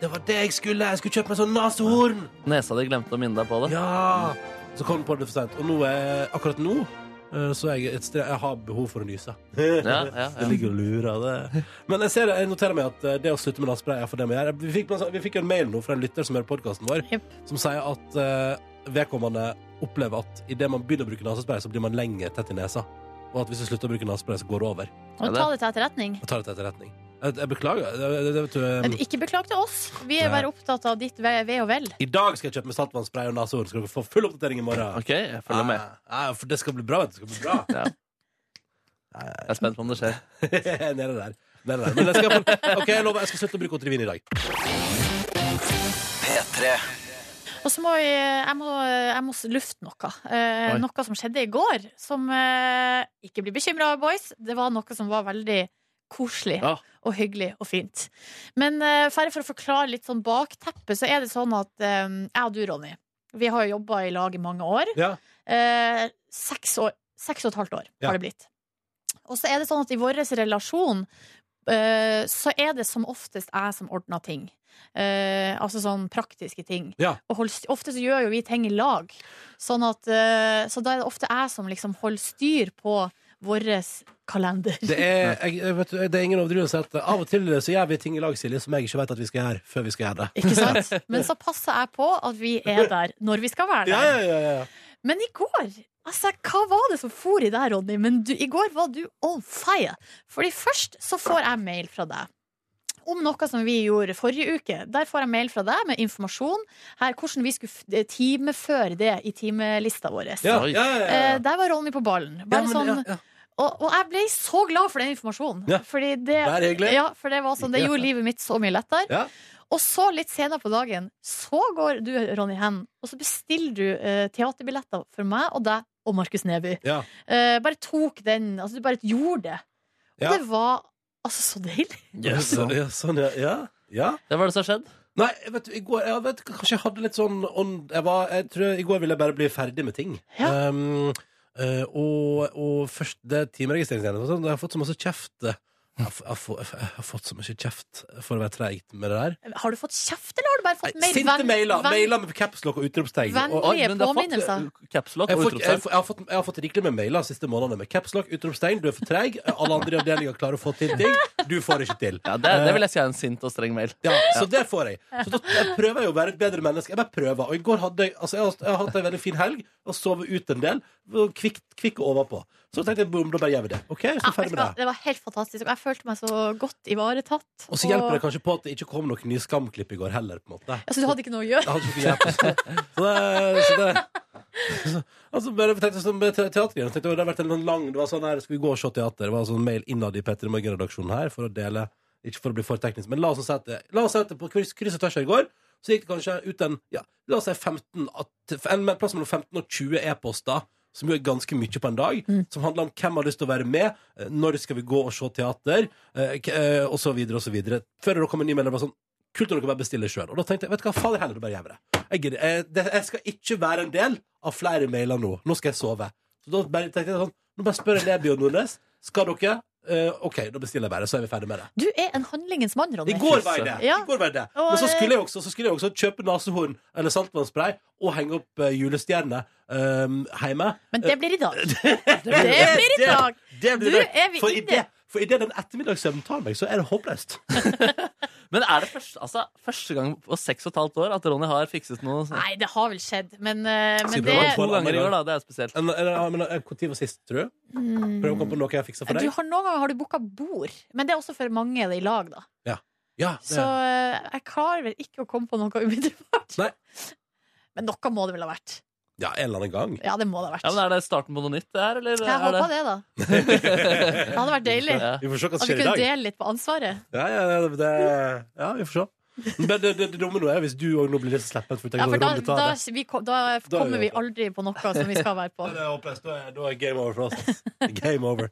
det var det jeg skulle! Jeg skulle kjøpe meg sånn nasehorn!
Nesa di glemte å minne deg på det.
Ja! Så kom jeg på det for seint. Og nå er, akkurat nå eh, så er jeg, et sted, jeg har behov for å nyse.
ja, ja.
Det ligger og lurer, det. Men jeg, ser, jeg noterer meg at eh, det å slutte med naspray er for det vi gjør. Vi fikk, blant annet- vi fikk en mail nå fra en lytter som hører podkasten vår, som sier at eh, vedkommende opplever at idet man begynner å bruke nesespray, så blir man lenger tett i nesa. Og at hvis du slutter å bruke nesespray, så går det over.
Og ta det til etterretning.
Jeg tar det til etterretning. Jeg, jeg beklager. Det, det, det, vet du, eh,
Men ikke beklag til oss. Vi er
Nei.
bare opptatt av ditt ve ve og vel.
I dag skal jeg kjøpe meg saltvannspray og nesehår. Skal dere få full oppdatering i morgen.
Ok, jeg følger med.
Ja, ja, for det skal bli bra. vet du. Det skal bli bra.
Jeg er spent på om det skjer.
Nede der. Nede der. Men jeg skal, få- ok, jeg lover, jeg skal slutte å bruke Otrivin i dag.
P3.
Og så må jeg, jeg, må, jeg må lufte noe. Eh,
Oi.
noe som skjedde i går, som eh, Ikke bli bekymra, boys. Det var noe som var veldig koselig
Ja.
og hyggelig og fint. Men eh, bare for å forklare litt sånn bakteppet, så er det sånn at eh, jeg og du, Ronny, vi har jo jobba i lag i mange år.
Ja.
Eh, seks år. Seks og et halvt år
Ja.
har det blitt. Og så er det sånn at i vår relasjon eh, så er det som oftest jeg som ordner ting. Eh, altså sånn praktiske ting.
Ja.
Og hold, st- ofte så gjør jo vi ting i lag. Sånn at, eh, så da er det ofte jeg som liksom holder styr på vår kalender.
Det er, jeg, jeg vet, det er ingen overdrivelse at av og til så gjør vi ting i lag, Silje, som jeg ikke vet at vi skal gjøre før vi skal gjøre det.
Ikke sant? Men så passer jeg på at vi er der når vi skal være der.
Ja, ja, ja, ja.
Men i går Altså, Hva var det som for i deg, Ronny? Men du, i går var du on fire. Fordi først så får jeg mail fra deg om noe som vi gjorde forrige uke. Der får jeg mail fra deg med informasjon her, hvordan vi skulle f- eh, timeføre det i timelista vår.
Ja, ja, ja, ja, ja.
Eh, Der var Ronny på ballen. Bare
Ja, men,
sånn Og, og jeg ble så glad for den informasjonen.
Ja.
Fordi det,
Det er hyggelig.
Ja, for det, var sånn, det
Ja.
gjorde livet mitt så mye lettere. Og så litt senere på dagen Så går du, Ronny, hen Og så bestiller du eh, teaterbilletter for meg og deg og Markus Neby
Ja.
Eh, Bare tok den, altså du bare gjorde det Og
Ja.
det var altså så deilig
Ja, sånn, ja, sånn, ja, ja, ja.
Det var det som skjedde.
Nei, vet du, i går jeg vet, Kanskje jeg hadde litt sånn ånd- jeg, var, jeg tror i går ville jeg bare bli ferdig med ting. Um, eh, og, og først det timeregistreringsgreiene. sånn, Jeg har fått så masse kjeft. Jeg har, f- jeg, har, få- jeg har fått så mye kjeft for å være treigt med det der.
Har du fått kjeft, eller har du bare fått mail?
Sinte
Venn-
mailer.
venn-
Mailer med capslock og utropstegn.
Vennlige
Og- Oi, men det har fått-
påminnelser.
Capslock
Jeg,
eh, og
får- jeg,
utropstegn.
får- jeg, har fått- jeg har fått rikelig med mailer de siste månedene med capslock, utropstegn, du er for treig, alle andre i avdelinga klarer å få til ting, du får ikke til.
Ja, det, det vil jeg si er en sint og streng mail.
Ja, så det får jeg. Så da jeg prøver jeg å være et bedre menneske. Jeg bare prøver. Og i går hadde jeg altså jeg, har, jeg har hatt en veldig fin helg og sovet ut en del. og Kvikk, kvikk overpå. Så tenkte jeg boom, da bare gjør vi det. OK, så
ja, vet
ferdig
du
med
hva,
det.
det var helt fantastisk Og jeg følte meg så godt ivaretatt
Og så hjelper det kanskje på at det ikke kom noen nye skamklipp i går heller, på en måte.
Altså du hadde ikke noe å gjøre
Jeg hadde ikke hjelp. Så det, så det Altså, bare tenkte sånn med te- teatergreiene tenkte jeg, Det har vært en sånn lang Det var sånn her, skal vi gå og se teater Det var sånn mail innad i Petter Morgen-redaksjonen her For å dele, ikke for å bli for teknisk Men la oss si at det- La oss si at det på kryss, kryss og tvers her i går Så gikk det kanskje ut en Ja, la oss si 15 at, en, en plass mellom 15 og 20 e-poster som jo er ganske mye på en dag Som handler om hvem har lyst til å være med eh, Når skal vi gå og se teater eh, k- eh, Og så videre og så videre Før det kom en ny melding det var sånn Kult om dere bare bestiller selv Og da tenkte jeg, vet du hva, faen heller du bare gjør det jeg, gidder- eh, det, jeg skal ikke være en del av flere mailer nå. Nå skal jeg sove. Så da bare tenkte jeg sånn Nå bare spør jeg Neby og Nordnes. Skal dere? Eh, OK, da bestiller jeg bare, så er vi ferdig med det.
Du er en handlingens mann, Ronny
I går var jeg det.
ja.
I går var jeg det. Men så skulle jeg også, så skulle jeg også kjøpe nesehorn eller saltvannspray og henge opp eh, julestjerne eh, hjemme.
Men det blir i dag
Det blir
i dag.
Det blir i
Du,
dag.
er vi
For
inne?
i det- For idet den ettermiddagssøvnen tar meg, så er det håpløst.
Men er det første, altså, første gang på seks og et halvt år at Ronny har fikset noe?
Nei, det har vel skjedd, men, eh, men det
to ganger i år, da. Det er spesielt.
Når eh, var sist, tror du?
Mm.
Prøv å komme på noe jeg har fiksa for
Du
deg.
har, noen ganger har du booka bord, men det er også for mange i lag, da.
Ja. ja det-
Så eh, jeg klarer vel ikke å komme på noe umiddelbart. Men noe må det vel ha vært.
Ja, en eller annen gang.
Ja, det må det ha vært.
Ja, men Er det starten på noe nytt, det her, eller?
jeg
er
håper det, da. Det hadde vært deilig.
Ja. Vi får se hva som
At vi
skjer i
kunne
dag.
dele litt på ansvaret.
Ja, ja, ja, det, det, ja vi får se. Men det, det, det dumme nå er hvis du òg nå blir litt slepphendt.
Ja, for da, da, vi, kom- da
Da er vi
kommer vi
åpne.
aldri på noe som vi skal være på.
Det er håpløst. Da er, da er game over for oss. ass. Game over.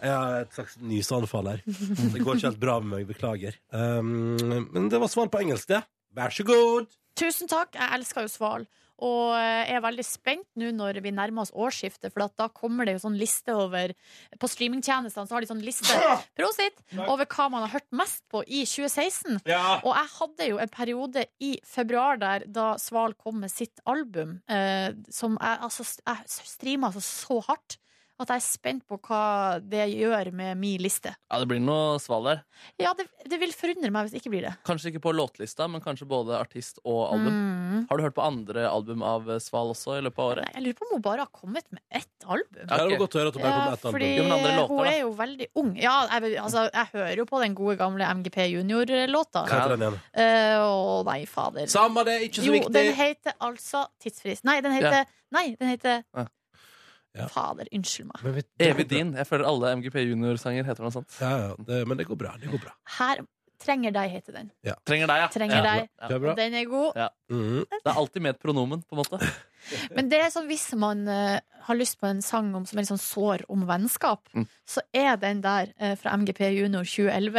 Jeg har et slags nyseanfall her. Det går ikke helt bra med meg, beklager. Um, men det var svar på engelsk, det. Vær så god!
Tusen takk. Jeg elsker jo sval. Og eh, er veldig spent nå når vi nærmer oss årsskiftet, for at da kommer det jo sånn liste over På streamingtjenestene så har de sånn liste Prosit, over hva man har hørt mest på i 2016.
Ja.
Og jeg hadde jo en periode i februar der da Sval kom med sitt album, eh, som jeg, altså, jeg streama altså så hardt at jeg er spent på hva det gjør med min liste.
Ja, det blir noe sval der.
Ja, det, det vil forundre meg hvis det ikke blir det.
Kanskje ikke på låtlista, men kanskje både artist og album.
Mm.
Har du hørt på andre album av eh, Sval også i løpet av året?
Jeg lurer på om hun bare har kommet med ett album.
Ja, det var godt å høre at hun bare kom med ett album.
fordi
Ja, men andre låter,
hun
da?
er jo veldig ung. Ja, jeg, altså, jeg hører jo på den gode gamle MGP Junior-låta.
Hva heter den igjen?
Eh, Å, nei, fader.
Samme det, ikke så
jo,
viktig.
Den heter altså Tidsfrist. Nei, den heter
Ja.
Nei, den heter
Ja.
Fader, unnskyld meg.
Evig din. Jeg føler alle MGP Junior-sanger heter noe sånt.
men det går bra. det går bra
Her Trenger deg heter den.
Trenger deg, ja.
Trenger
ja.
deg. Og Den er god.
Ja.
Mm-hmm.
Det er alltid med et pronomen, på en måte.
Men det er sånn hvis man eh, har lyst på en sang om, som er litt sånn sår om vennskap,
Mm.
så er den der eh, fra MGP Junior 2011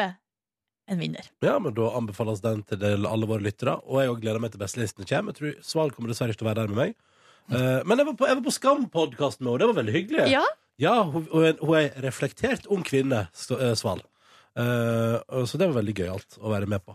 en vinner.
Ja, men Da anbefales den til del- alle våre lyttere. Og jeg også gleder meg til bestelistene kommer. Jeg tror Sval kommer dessverre ikke til å være der med meg. Eh, men jeg var på, jeg var på Skam-podkasten med henne. Det var veldig hyggelig.
Ja.
hun, hun er en- hun er en reflektert ung kvinne, så, eh, Sval. Eh, og så det var veldig gøyalt å være med på.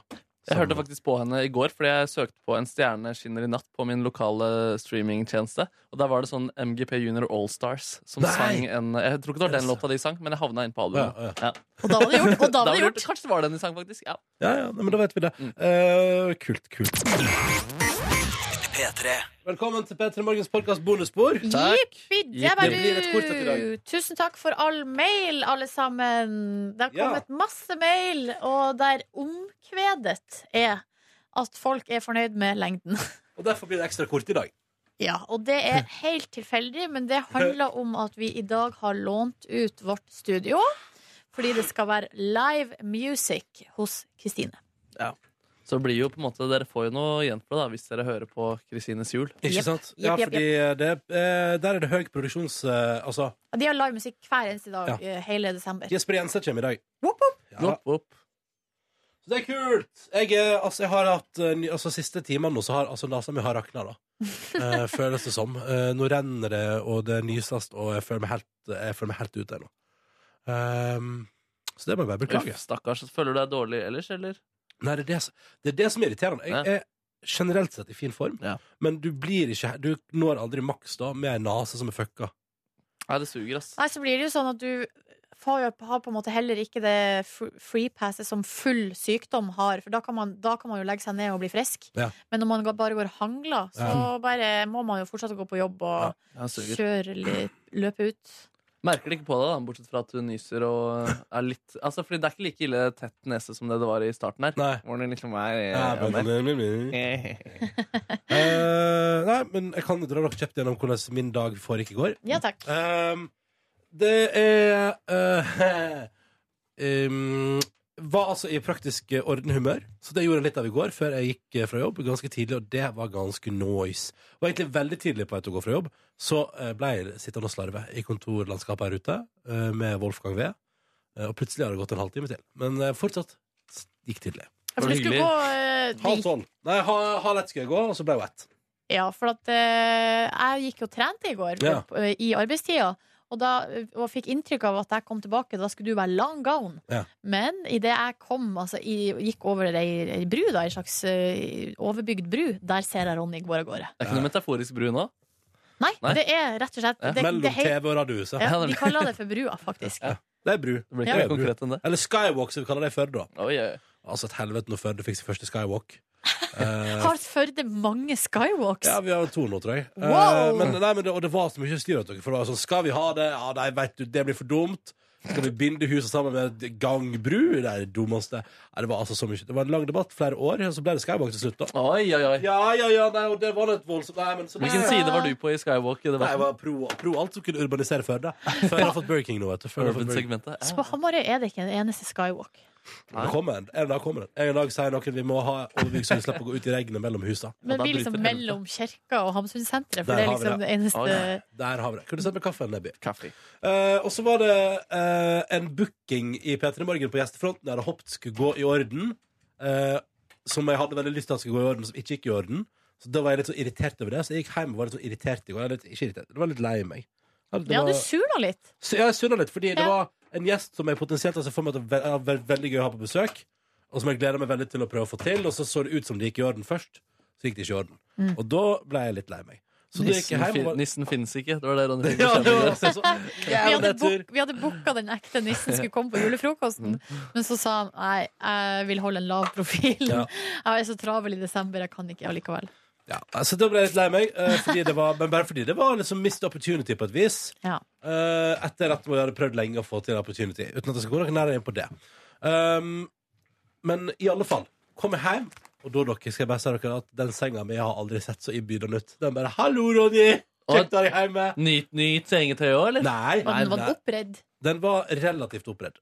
Jeg hørte faktisk på henne i går, fordi jeg søkte på En stjerne skinner i natt på min lokale streamingtjeneste. Og der var det sånn MGP Junior Allstars som
Nei!
sang en Jeg tror ikke det var den låta de sang, men jeg havna inn på albumet.
Ja,
Og da var det gjort. Og da var det gjort.
Kanskje det var den de sang, faktisk. Ja.
Ja, ja, nei, men da vet vi det.
Mm.
Eh, kult, kult. Velkommen til P3 Morgens podkast bonusspor.
Jippi, det
Det blir et kort et i dag.
Tusen takk for all mail, alle sammen. Det har
Ja.
kommet masse mail, og der omkvedet er at folk er fornøyd med lengden.
Og derfor blir det ekstra kort i dag.
Ja, og det er helt tilfeldig, men det handler om at vi i dag har lånt ut vårt studio. Fordi det skal være live music hos Kristine.
Ja. Så det blir jo på en måte Dere får jo noe igjen for det da hvis dere hører på Kristines jul.
Ikke sant? Ja, fordi det, eh, der er det høy produksjons... eh, altså,
Og de har live musikk hver eneste dag
Ja.
eh, hele desember.
Jesper Jensen kommer i dag. Ja. Så det er kult! Jeg, eh, altså, jeg har hatt eh, ny- altså, siste timene nå, så har altså, nesa mi har rakna, da. Eh, føles det som. Eh, nå renner det, og det nyses, og jeg føler meg helt, jeg føler meg helt ute nå. Ehm, så det må jeg bare beklage.
Uff, stakkars. Føler du deg dårlig ellers, eller?
Nei, det er det, som- det er det som er irriterende. Jeg er generelt sett i fin form, men du blir ikke Du når aldri maks da med ei nese som er fucka.
Nei, det suger, ass.
Nei, så blir det jo sånn at du får jo, har på en måte heller ikke det fr- freepasset som full sykdom har, for da kan, man, da kan man jo legge seg ned og bli frisk.
Ja.
Men når man går- bare går hangla, så
Ja.
bare må man jo fortsatt gå på jobb og
Ja, det suger.
kjøre litt, løpe ut.
Merker det ikke på deg, da, bortsett fra at du nyser og er litt Altså, fordi det er ikke like ille tett nese som det det var i starten her. Hvor det liksom er
Ja, men- Eh, nei, men jeg kan dra dere kjapt gjennom hvordan min dag foregikk i går.
Ja, takk.
Ehm, det er eh, um, Var altså i praktisk eh, ordenhumør, så det gjorde jeg litt av i går før jeg gikk eh, fra jobb. Ganske tidlig, og det var ganske nice. Var egentlig veldig tidlig på vei til å gå fra jobb, så eh, ble jeg sittende og slarve i kontorlandskapet her ute eh, med Wolfgang V. Eh, Og plutselig har det gått en halvtime til. Men eh, fortsatt s- gikk tidlig.
Ja, for du skulle gå eh,
Halv
dit.
tolv. Nei, ha- sånn. halv ett skulle jeg gå, og så ble jeg ett.
Ja, for at eh, jeg gikk og trente i går
Ja.
på- i arbeidstida. Og, da, eh, og fikk inntrykk av at jeg kom tilbake, da skulle du være long gone.
Ja.
Men idet jeg kom, altså, i, gikk over ei, ei bru, da, ei slags eh, overbygd bru, der ser jeg Ronny går av gårde.
Det er ikke noe metaforisk bru nå?
Nei,
Nei.
det er rett og slett det,
Mellom
det er helt-
TV og radiohuset.
Ja, de kaller det for brua, faktisk.
Ja. Det er bru.
blir ikke
Det er
mer konkret
bru. Eller skywalk, som vi kaller det i Førde. da. Altså et helvete når Førde fikk sin første skywalk. Eh,
Har Førde mange skywalks?
ja, vi har to nå, tror jeg. Eh,
Wow!
men, nei, men det, og det var så mye styr at dere for det var sånn, Skal vi ha det? Ja, nei, vet du, det blir for dumt. Skal vi binde huset sammen med et gangbru? Det er det dummeste. Nei, det var altså så mye Det var en lang debatt, flere år, og så ble det skywalk til slutt, da.
Oi, oi, oi.
Ja, ja, ja, nei, og det var litt voldsomt. Nei, men så
Hvilken side var du på i Skywalk? i
Nei, jeg
debatten?
var pro, pro alt som kunne urbanisere Førde. Før jeg har fått Burger King nå, vet du. Før jeg har fått Burger King.
Urban-segmentet.
Så på Hamarøy er det ikke en eneste skywalk.
Det kommer en. En dag kommer den. En dag sier noen vi må ha overbygg så vi slipper å gå ut i regnet mellom husa.
Men vi er liksom mellom kirka og Hamsunsenteret, for
Der
det er
har vi
liksom det eneste
Å, ja. Der har vi det. Kunne sett med kaffe en Nebby. Eh, og så var det eh, eh, en booking i P3 Morgen på gjestefronten jeg hadde håpet skulle gå i orden. eh, som jeg hadde veldig lyst til at skulle gå i orden, men som ikke gikk i orden. Så da var jeg litt så irritert over det. Så jeg gikk hjem og var litt så irritert i går. Jeg er litt, ikke irritert, jeg var litt lei meg. Ja, det
Ja,
var-
du surna litt.
Så jeg surna litt, fordi det
Ja.
var en gjest som jeg potensielt altså, for meg at det er ve- ve- veldig gøy å ha på besøk, og som jeg gleder meg veldig til å prøve å få til, og så så det ut som det gikk i orden først, så gikk det ikke i orden.
Mm.
Og da ble jeg litt lei meg. Så da gikk jeg
Nissen,
hjem og
fin,
var...
nissen finnes ikke. Det var det Ronny
Ja, det var også
Vi hadde, book, vi hadde booka den ekte nissen skulle komme på julefrokosten, men så sa han nei, jeg vil holde en lav profil.
Ja.
Jeg er så travel i desember, jeg kan ikke allikevel.
Ja, altså, da ble jeg litt lei meg, eh, fordi det var, men bare fordi det var liksom missed opportunity på et vis.
Ja.
Eh, etter at vi hadde prøvd lenge å få til opportunity, uten at jeg skal gå noe nærmere inn på det. Um, men i alle fall, kom jeg hjem, og da dere, skal jeg bare si dere at den senga mi har aldri sett så innbydende ut. Den bare 'Hallo, Ronny! Kjekt å ha deg hjemme!'
Nytt, nytt sengetøy òg, eller?
Nei,
Var den, Mm. var den oppredd?
den var relativt oppredd.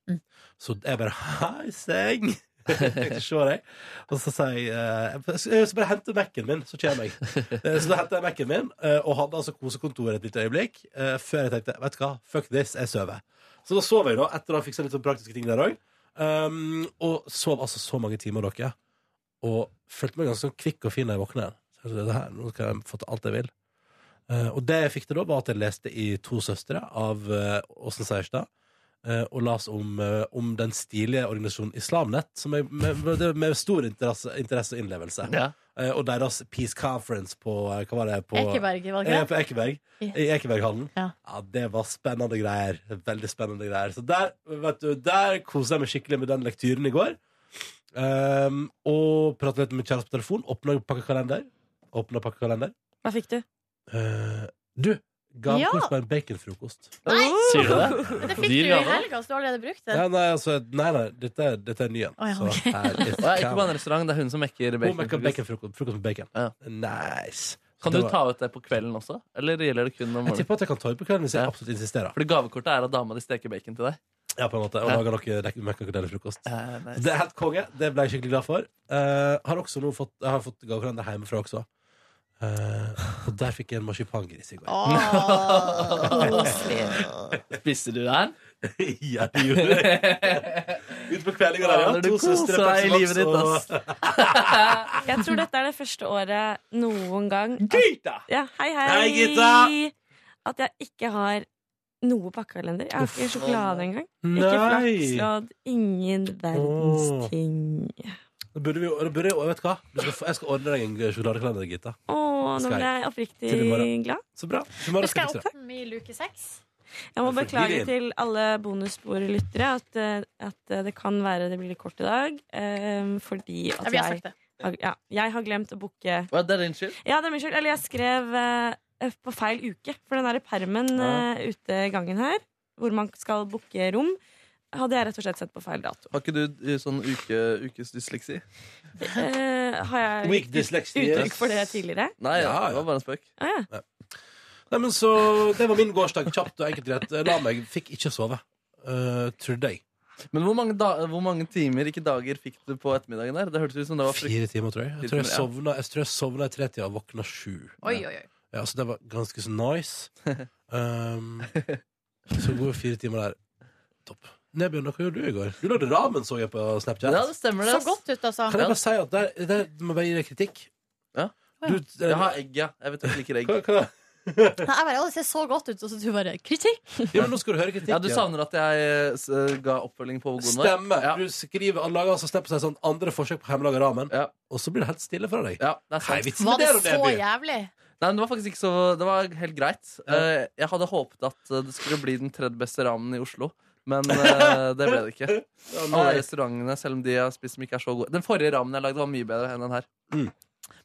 Så jeg bare 'Hei, seng!' Jeg ser deg. Og så sier jeg eh, jeg- Så bare henter Mac-en min, så kommer jeg. Eh, Så da henter jeg Mac-en min, eh, og hadde altså kosekontoret et lite øyeblikk, eh, før jeg tenkte vet du hva, fuck this, jeg sover. Så da sov jeg, da, etter å ha fiksa litt sånn praktiske ting der òg. Um, og sov altså så mange timer, dere. Og følte meg ganske sånn kvikk og fin da jeg våkna igjen. Så jeg tenkte, det her, Nå skal jeg få til alt jeg vil. Eh, og det jeg fikk til da, var at jeg leste i To søstre av eh, Åsen Seierstad. eh, og las om, eh, om den stilige organisasjonen Islamnett, som jeg, med, med, med stor interesse, interesse og innlevelse.
Ja.
Eh, og deres Peace Conference på eh, Hva var det? På,
Ekeberg, var det ikke
Eh,
det?
på Ekeberg.
Ja.
I Ekeberghallen.
Ja.
Ja, det var spennende greier. Veldig spennende greier. Så der, vet du, der koset jeg meg skikkelig med den lektyren i går. Um, og pratet litt med kjæresten på telefon. Åpna pakkekalender. Åpna pakkekalender.
Hva fikk du?
Eh, du, ga
Ja.
ja. kurs på en baconfrokost.
Nei!
Sier du
Men
det?
det fikk du jo i helga, så du har allerede brukt
Ja,
det.
nei, altså, nei, nei, dette, er- dette er ny en.
Å, ja,
Så
ok.
her is
Og jeg er ikke på en
camera.
restaurant, det er hun som mekker
Hun mekker
baconfrokost.
Frokost med bacon. Nice.
Kan
Det
du
var-
ta ut det på kvelden også? Eller gjelder det kun om
Jeg
morgenen?
tipper at jeg kan ta ut på kvelden hvis jeg absolutt insisterer.
Fordi gavekortet er at dama di steker bacon til deg.
Ja, på en måte. Og
Ja.
lager noe dek- møkkakadellefrokost.
Eh, nice.
Det er helt konge. Det ble jeg skikkelig glad for. Eh, har også nå fått, jeg har fått gavekalender hjemmefra også. Eh, og der fikk jeg en marsipangris i går.
Spiste du den?
ja, det gjorde jeg. Ut på kveldinga der, ja.
Fader, du
To
koser
søstre
deg i
Pepsi
livet ditt,
Max og-
Jeg tror dette er det første året noen gang at- Ja, hei, hei.
Hei, Gita!
At jeg ikke har noe pakkekalender. Jeg har ikke
Uff.
sjokolade engang. Ikke
Nei.
flakslodd. Ingen verdens ting.
Da burde vi, da burde jeg, vet du hva? Du skal få- Jeg skal ordne deg en sjokoladekalender, Gitta.
Å, nå
Skal
ble jeg
jeg. Til i morgen.
oppriktig glad.
Så bra. Til i morgen
Husker
skal
jeg
jeg fikse det.
opp
Mm, i luke seks.
Jeg må
Men for
beklage
Gideon.
til alle bonussporlyttere at, eh, at eh, det kan være det blir litt kort i dag. eh, fordi
Ja,
at
vi har
jeg
sagt det.
har, ja, jeg har glemt å booke
Hva, det er din skyld?
Ja, det er min skyld. Eller jeg skrev eh, på feil uke. For den der permen
Ja.
eh, ute i gangen her, hvor man skal booke rom, hadde jeg rett og slett sett på feil dato.
Har ikke du eh, sånn uke, ukesdysleksi?
Eh, har jeg
Weak
gitt
dysleksi,
uttrykk
yes.
for det tidligere?
Nei, ja, det var bare en spøk.
Ah, ja.
Nei, men så, Det var min gårsdag. Kjapt og enkelt greit. Jeg La meg. Fikk ikke sove. Eh, trodde jeg.
Men hvor mange, da, hvor mange timer, ikke dager, fikk du på ettermiddagen der? Det hørtes ut som det var frykt-
Fire timer, tror jeg. Jeg tror jeg
Fire timer,
sovna, jeg tror jeg sovna i tretida og våkna sju.
Oi, oi, oi.
Ja, så det var ganske så nice. Um, så gode fire timer der. Topp. Nebjørn, hva gjorde du i går? Du lagde ramen, så jeg på Snapchat.
Ja, det stemmer det.
Så godt ut, altså.
Kan jeg bare si at der, der må jeg bare gi deg kritikk?
Ja.
Du, eh,
Jeg har egg, ja. Jeg vet du ikke liker egg.
Nei, jeg bare, «Å, det ser så godt ut, og så du bare kritikk.
Ja, men nå skal du høre kritikk.
Ja, Du savner at jeg eh, s- ga oppfølging på hvor god den var?
Stemmer. Du skriver, han lager altså snap på seg sånn andre forsøk på hjemmelaga ramen, og så blir det helt stille fra deg.
Ja, det er sant.
Hei, vitsen
Var
med
det
det,
så
Nebjørn.
jævlig?
Nei, men det var faktisk ikke så Det var helt greit. Eh, Jeg hadde håpet at eh, det skulle bli den tredje beste ramen i Oslo. Men eh, det ble det ikke.
Ja, nei.
Alle restaurantene, selv om de jeg har spist som ikke er så gode Den forrige ramen jeg lagde, var mye bedre enn den her.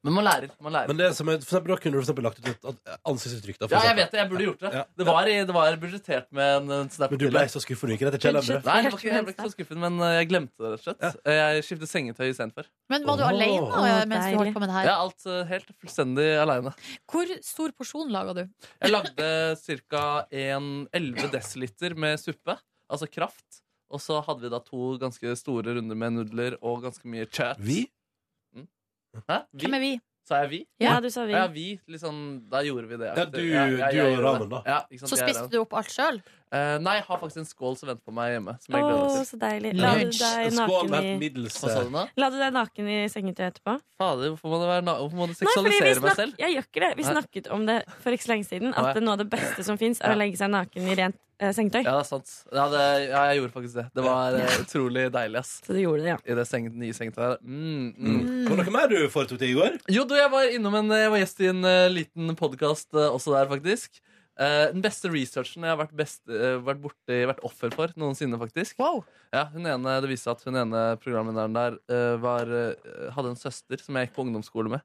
Men man lærer. Man lærer.
Mm. Men det som er, for eksempel, da kunne du for eksempel lagt ut et at- ansiktsuttrykk. Da, for
Ja, jeg
eksempel.
vet det. Jeg burde gjort det.
Ja.
Det var, i- det var budsjettert med en en snap
Men du
til.
ble så skuffet du gikk rett til Kjell Endre.
Nei, jeg var ikke, jeg ble ikke så skuffet, men eh, jeg glemte det rett og slett. Eh, Jeg skiftet sengetøy istedenfor.
Men var du
Åh.
alene eh, mens du holdt på med det her?
Ja, alt eh, helt fullstendig aleine.
Hvor stor porsjon laga du?
Jeg lagde ca. 11 desiliter med suppe, altså kraft. Og så hadde vi da to ganske store runder med nudler og ganske mye chat.
Vi?
Mm. Hæ? Vi?
Hvem er vi?
Sa jeg vi?
Ja, Ja. du sa vi.
Ja, vi. Litt sånn, da gjorde vi det.
Ja, du-
Ja, ja, jeg
du og
gjorde det.
ramen, da.
Ja, ikke sant,
Så
jeg
spiste
ramen.
du opp alt sjøl?
Eh, nei, jeg har faktisk en skål som venter på meg hjemme. Som jeg
Åh,
gleder meg
så
til.
deilig. La du Lunsj. deg naken i-
Hva sa du nå?
La du deg naken i sengetøy etterpå?
Fader, hvorfor må, det være na hvorfor må du
Nei, fordi vi
seksualisere meg
snak-
selv?
Jeg gjør ikke det. Vi
Nei.
snakket om det for ikke så lenge siden.
Nei.
At det, noe av det beste som fins, er
Ja.
å legge seg naken i rent eh, sengetøy.
Ja, det er sant. Ja, det, ja, jeg gjorde faktisk det. Det var eh, utrolig deilig, ass.
Så du gjorde det, ja.
I det seng, nye sengetøyet. der. Mm, mm.
Var det noe mer du foretok deg i går?
Jo, du, jeg var innom en, jeg var gjest i en eh, liten podkast også der, faktisk. Eh, den beste researchen jeg har vært, best, eh, vært borte i, vært offer for noensinne, faktisk. Ja, hun ene, det viste seg at hun ene programlederen der eh, var, eh, hadde en søster som jeg gikk på ungdomsskole med.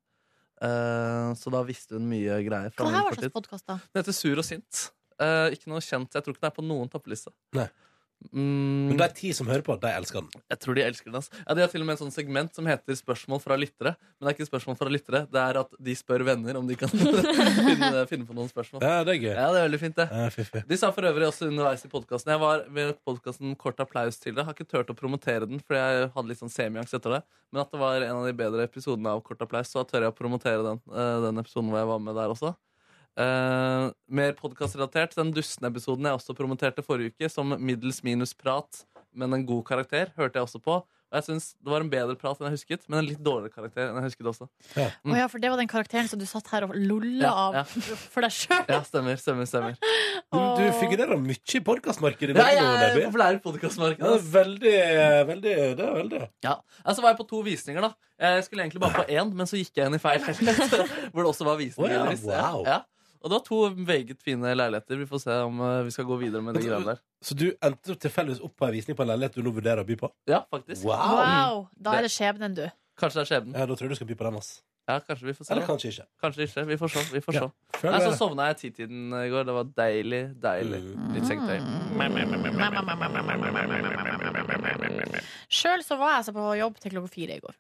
Eh, så da visste hun mye greier. fra
Hva
min
her var
fortid.
slags podkast, da?
Den heter Sur og sint. Eh, ikke noe kjent. Jeg tror ikke den er på noen Mm. toppliste.
Nei. Men det er ti som hører på, de elsker den.
Jeg tror de elsker den. ass. Ja, de har til og med en sånn segment som heter Spørsmål fra lyttere. Men det er ikke spørsmål fra lyttere, det er at de spør venner om de kan finne, finne på noen spørsmål.
Ja, Eh, det er gøy.
Ja, det er veldig fint, det.
Ja, fiffig.
De sa for øvrig også underveis i podkasten Jeg var ved podkasten Kort applaus til det. Har ikke turt å promotere den, for jeg hadde litt sånn semiangst etter det. Men at det var en av de bedre episodene av Kort applaus, så tør jeg å promotere den, eh, den episoden hvor jeg var med der også. Eh, mer podkastrelatert. Den Dustene-episoden jeg også promoterte forrige uke, som middels minus prat, men en god karakter, hørte jeg også på. Og jeg synes Det var en bedre prat enn jeg husket, men en litt dårligere karakter enn jeg husket også.
Å ja, for det var den karakteren som du satt her og lolla
Mm. Ja,
av
ja.
for deg sjøl.
Ja, stemmer, stemmer, stemmer.
Du, du figurerer mye i podkastmarkedet. i
Ja,
Norge nå,
jeg er
Debbie.
populær i podcastmarkedet,
Ja, det
ass.
er veldig, veldig, det er veldig.
Ja, altså var jeg på to visninger da Jeg skulle egentlig bare på en, men så gikk jeg inn i feil leilighet Hvor det også var visninger
Å ja,
deres. Ja,
wow.
ja. Og det var to meget fine leiligheter Vi får se om eh, vi skal gå videre med de greiene der
Så du endte tilfeldigvis opp på en visning på en leilighet du nå vurderer å by på?
Ja, faktisk
Wow.
Wow, da er det skjebnen, du.
Kanskje det er skjebnen
Ja, da tror jeg du skal by på den, ass.
Ja, kanskje vi får se
Eller kanskje ikke.
Kanskje ikke, vi får se, vi får se.
føler det.
Nei, så
Altså,
Mm.
sovna jeg i titiden i går Det var deilig, deilig Litt sengetøy
Mm. Sjøl så var jeg altså på jobb til klokka fire i går.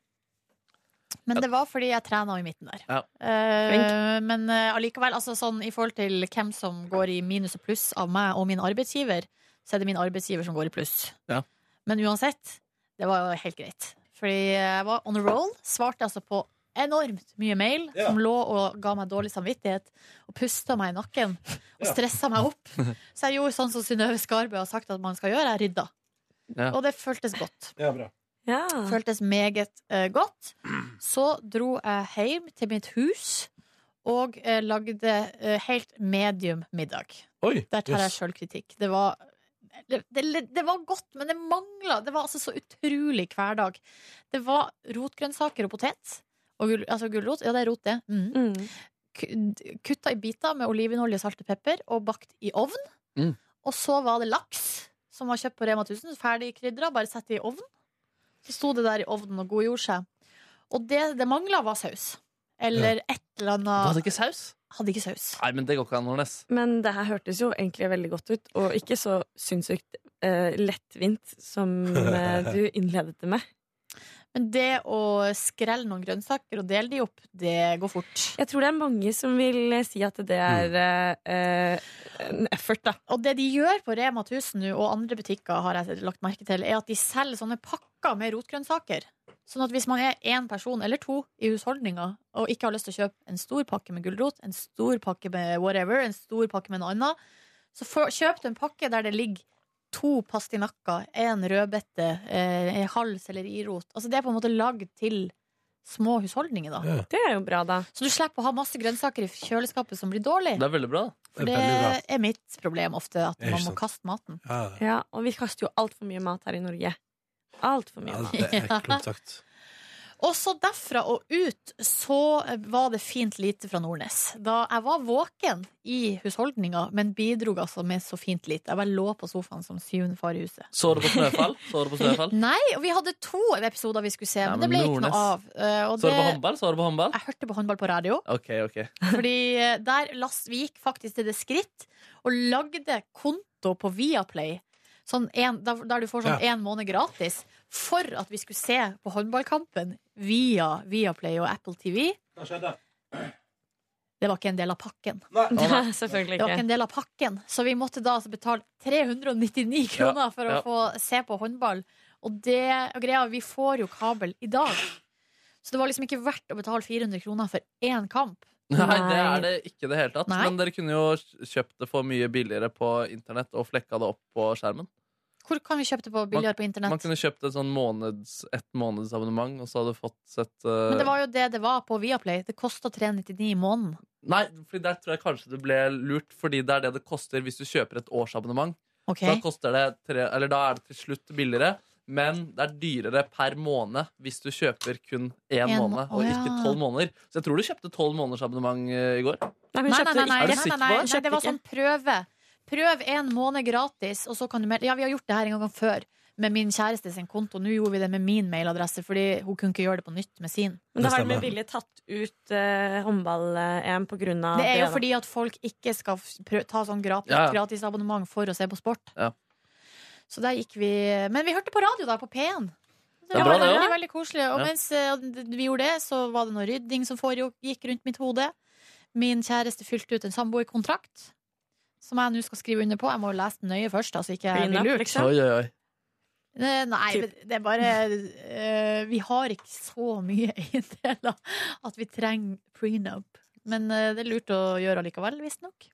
Men det var fordi jeg trena i midten der.
Ja.
Eh,
Flink.
men eh, allikevel, altså sånn i forhold til hvem som går i minus og pluss av meg og min arbeidsgiver, så er det min arbeidsgiver som går i pluss.
Ja.
Men uansett, det var jo helt greit. Fordi jeg var on a roll, svarte altså på enormt mye mail
Ja.
som lå og ga meg dårlig samvittighet, og pusta meg i nakken og
Ja.
stressa meg opp. Så jeg gjorde sånn som Synnøve Skarbø har sagt at man skal gjøre, jeg rydda.
Ja.
Og det føltes godt.
Ja, bra.
Føltes meget eh, godt. Så dro jeg hjem til mitt hus og eh, lagde eh, helt medium middag.
Oi,
Der tar
jøss.
jeg sjølkritikk. Det var det, det, det var godt, men det mangla Det var altså så utrolig hverdag. Det var rotgrønnsaker og potet. Og gul, altså gulrot. Ja, det er rot, det. Mm. Ku- Kutta i biter med olivenolje, salt og pepper og bakt i ovn.
Mm.
Og så var det laks som var kjøpt på Rema 1000, ferdig krydra, bare sett det i ovn. Så sto det der i ovnen og godgjorde seg. Og det det mangla, var saus. Eller et eller annet
Hadde ikke saus?
Hadde ikke saus.
Nei, men det går ikke an, Nordnes
Men det her hørtes jo egentlig veldig godt ut, og ikke så sinnssykt eh, lettvint som eh, du innledet det med.
Men det å skrelle noen grønnsaker og dele de opp, det går fort.
Jeg tror det er mange som vil eh, si at det er eh, eh, en effort, da.
Og det de gjør på Rema 1000 nå, og andre butikker, har jeg lagt merke til, er at de selger sånne pakker med rotgrønnsaker. Sånn at hvis man er én person eller to i husholdninga og ikke har lyst til å kjøpe en stor pakke med gulrot, en stor pakke med whatever, en stor pakke med noe annet, så får- kjøp du en pakke der det ligger to pastinakker, én rødbete, eh, en halv sellerirot. Altså det er på en måte lagd til små husholdninger, da.
Ja. Det er jo bra, da.
Så du slipper å ha masse grønnsaker i kjøleskapet som blir dårlig.
Det er veldig bra da.
For det er mitt problem ofte, at
Ikke
man må
sant.
kaste maten.
Ja, og vi kaster jo altfor mye mat her i Norge. Altfor mye mat.
Og så derfra og ut så var det fint lite fra Nordnes. Da jeg var våken i husholdninga, men bidro altså med så fint lite. Jeg bare lå på sofaen som syvende far i huset.
Så du på snøfall? Så du på snøfall?
Nei, og vi hadde to episoder vi skulle se,
Ja,
men,
men
det ble ikke
Nordnes.
noe av. Eh, og
Så du på
det-
håndball? Så du på håndball?
Jeg hørte på håndball på radio.
Ok, ok
Fordi eh, der last, vi gikk faktisk til det skritt og lagde konto på Viaplay. Sånn en, der, der du får sånn én måned gratis for at vi skulle se på håndballkampen via Viaplay og Apple TV.
Hva skjedde?
Det var ikke en del av pakken.
Å, nei. Selvfølgelig
Det var
ikke.
ikke en del av pakken Så vi måtte da altså betale 399
Ja,
kroner for å
ja.
få se på håndball. Og det og greia, vi får jo kabel i dag. Så det var liksom ikke verdt å betale 400 kroner for én kamp.
Nei, det er det ikke i det hele tatt.
Nei.
Men dere kunne jo kjøpt det for mye billigere på internett og flekka det opp på skjermen.
Hvor kan vi kjøpe det på billigere på
Man
internett?
kunne kjøpt et sånn måneds, et månedsabonnement, og så hadde du fått sett eh,
Men det var jo det det var på Viaplay. Det kosta 399 i måneden.
Nei, fordi der tror jeg kanskje du ble lurt, fordi det er det det koster hvis du kjøper et årsabonnement.
Ok.
Da, koster det tre, eller da er det til slutt billigere, men det er dyrere per måned hvis du kjøper kun én
En må-
måned,
Å,
og
ja.
ikke tolv måneder. Så jeg tror du kjøpte tolv måneders abonnement eh, i går.
Nei, nei, nei, nei,
Er du
nei, nei,
sikker på
nei,
det?
nei, det var sånn prøve. Prøv en måned gratis, og så kan du melde Ja, vi har gjort det her en gang før. Med min kjæreste sin konto. Nå gjorde vi det med min mailadresse, fordi hun kunne ikke gjøre det på nytt med sin.
Men da har de med vilje tatt ut eh, håndball-EM på grunn av
Det er jo
da.
fordi at folk ikke skal f- prø- ta sånn gratis,
Ja, ja.
gratisabonnement for å se på sport.
Ja.
Så der gikk vi Men vi hørte på radio da, på P1.
Det er
var
bra, det, ja.
veldig, veldig koselig. Og
Ja.
mens eh, vi gjorde det, så var det noe rydding som foregikk rundt mitt hode. Min kjæreste fylte ut en samboerkontrakt. Som jeg nå skal skrive under på. Jeg må jo lese den nøye først. Altså ikke jeg
Bli
blir
napp,
lurt.
liksom?
Oi, oi, oi.
Eh, Nei,
Typ.
men det er bare eh, Vi har ikke så mye eiendeler at vi trenger prenup. Men eh, det er lurt å gjøre allikevel, visstnok.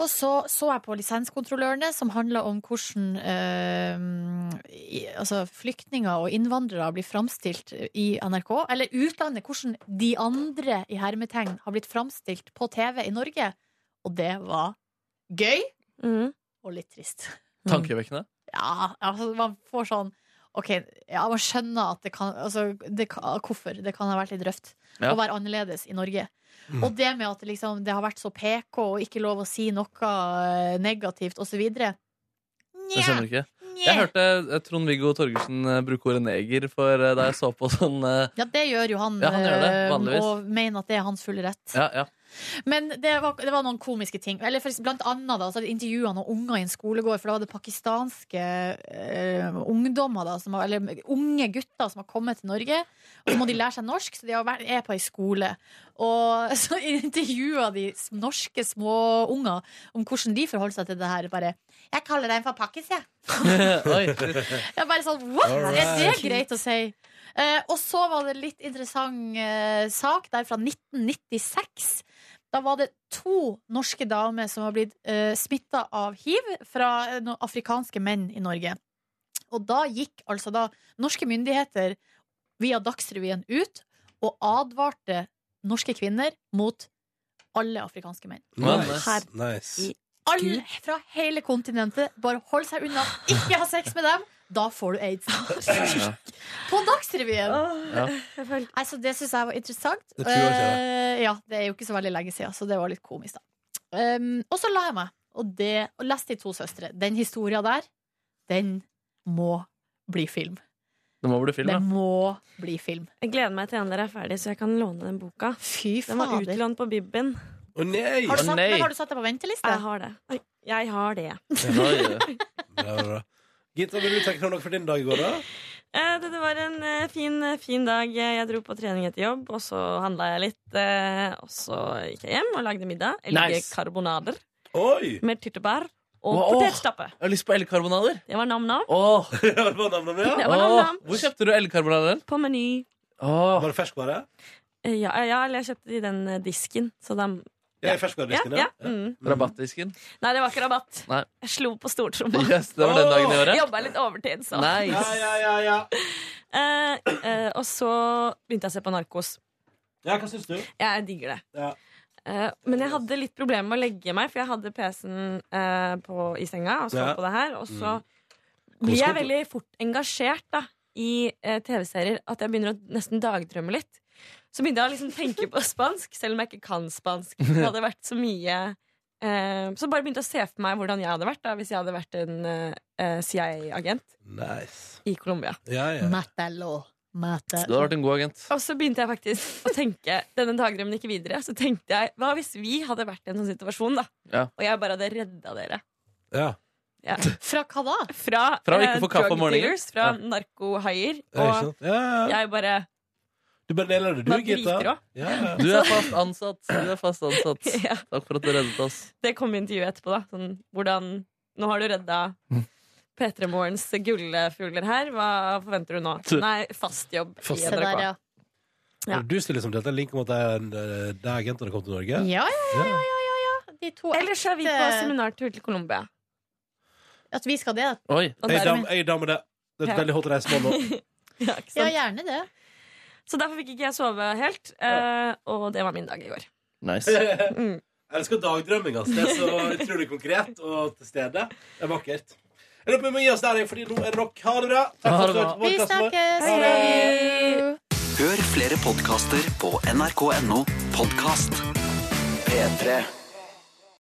Og så så jeg på lisenskontrollørene, som handla om hvordan eh, i, altså flyktninger og innvandrere blir framstilt eh, i NRK. Eller utlandet, hvordan de andre i hermetegn har blitt framstilt på TV i Norge. Og det var gøy og litt trist.
Tankevekkende.
Mm. Ja, altså man får sånn Ok, ja, man skjønner at det kan altså, det, kan- Hvorfor det kan ha vært litt røft Å
Ja.
være annerledes i Norge
Mm.
Og det med at det liksom, det har vært så PK Og ikke lov å si noe eh, negativt Og så videre
Jeg skjønner ikke. Jeg hørte eh, Trond-Viggo Torgersen eh, bruke ordet neger for eh, da jeg så på sånn eh,
Ja, det gjør jo han,
Ja, han gjør det,
eh,
vanligvis.
Og mener at det er hans fulle rett
Ja, ja.
Men det var, det var noen komiske ting. Eller for, blant annet da, så intervjua noen unger i en skolegård. For da var det pakistanske eh, ungdommer da, som har, eller unge gutter som har kommet til Norge. Og så må de lære seg norsk, så de har vært, er på ei skole. Og så intervjua de s- norske småunger om hvordan de forholder seg til det her. Bare 'Jeg kaller deg en for pakkis, jeg'.
Oi.
Jeg er bare sånn, what? Er det
Alright.
greit å si? Eh, og så var det litt interessant eh, sak der fra 1996. Da var det to norske damer som var blitt uh, smitta av hiv fra eh, noen afrikanske menn i Norge. Og da gikk altså da norske myndigheter via Dagsrevyen ut og advarte norske kvinner mot alle afrikanske menn.
Nice. nice.
Alle fra hele kontinentet. Bare hold seg unna. Ikke ha sex med dem. Da får du aids. På Dagsrevyen!
Ja.
Nei, så det syns jeg var interessant.
Det tror jeg ikke, da.
Eh, ja, det er jo ikke så veldig lenge siden, så det var litt komisk, da. Um, og så la jeg meg, og, det, og leste De to søstre. Den historia der, den må bli film.
Det må bli film,
Det
ja.
må bli film.
Jeg gleder meg til den dere er ferdig, så jeg kan låne den boka. den var
fader.
utlånt på Bibben.
Å nei!
Har du satt, men har du satt deg på venteliste?
Jeg har det. Oi, Jeg har det.
Bra, bra, bra. Gitta, vil du tenke noe for din dag i går, da?
Eh, Det, det var en eh, fin, eh, fin dag. Eh, Jeg dro på trening etter jobb, og så handla jeg litt. eh, Og så gikk jeg hjem og lagde middag. Jeg lagde
Nice.
karbonader
Oi!
med tyttebær og
Wow.
potetstappe.
Jeg har lyst på elkarbonader.
Det var nam-nam.
Åh.
Det var nam-nam.
Åh, Hvor kjøpte du elkarbonader?
På Meny.
Var det ferskvare?
Eh, Ja, ja, eller jeg kjøpte i den eh, disken. Så da
Ja, i ferskvaredisken, ja.
ja. ja. Mm.
Rabattdisken?
Nei, det var ikke rabatt.
Nei.
Jeg slo på stortromma.
Yes, det var den dagen i året.
Jobba litt overtid,
altså.
så.
Nice. Ja,
Eh, eh, og så begynte jeg å se på Narkos.
Ja, hva syns du?
Jeg digger det.
Ja.
Eh, men jeg hadde litt problemer med å legge meg, for jeg hadde PC-en eh, på- i senga og så
Ja.
på det her. Og så
Mm.
blir jeg
Hvordan-
veldig fort engasjert da, i eh, TV-serier at jeg begynner å nesten dagdrømme litt. Så begynte jeg å liksom tenke på spansk, selv om jeg ikke kan spansk. Det hadde vært så mye eh, Så bare begynte jeg å se for meg hvordan jeg hadde vært da, hvis jeg hadde vært en eh, CIA-agent
Nice.
i Colombia.
Ja, ja.
Matelo. Mate.
Du har vært en god agent.
Og så begynte jeg faktisk å tenke denne dagdrømmen gikk videre. Så tenkte jeg, hva hvis vi hadde vært i en sånn situasjon, da?
Ja.
Og jeg bare hadde redda dere.
Ja.
Ja.
Fra hva da?
Fra,
Fra å
eh,
ikke få kaffe om
drug
morgenen?
dealers,
Ja.
Fra narkohaier.
Ja, ikke sant?
Og
sånn. Ja, ja.
jeg bare
Du bare deler det, du,
Man driter
Gitta.
også.
Ja, ja.
Du er fast ansatt. Du er fast ansatt.
Ja.
Takk for at du reddet oss.
Det kom i intervjuet etterpå, da. Sånn, hvordan Nå har du redda
Mm.
P3 Morgens gullfugler her. Hva forventer du nå? Nei, fast jobb
Fast- Se
i
der,
NRK.
ja.
Ja.
Og Du stiller som dette en link om at det er en, eh, det er agentene kom til Norge.
Ja, ja, ja. ja, ja, ja, ja. De to
Ellers er vi på
ekte-
seminartur til Colombia.
At vi skal det?
Oi.
Og
Jeg er
dermed-
dam- jeg er dame, det. Det er
Ja.
et veldig hot reise nå. nå.
ja, ikke
Ja,
sant?
gjerne det.
Så derfor fikk ikke jeg sove helt, eh, og det var min dag i går.
Nice.
Jeg elsker dagdrømming, altså. Det er så utrolig konkret og til stede. Det er vakkert. Jeg lurer på om vi må gi oss der, jeg, fordi nå er det nok. Ha det bra. Takk for at du hørte på
Vi
podcasten vår.
snakkes!
Ha det.
Hør flere podkaster på nrk.no podkast. P3.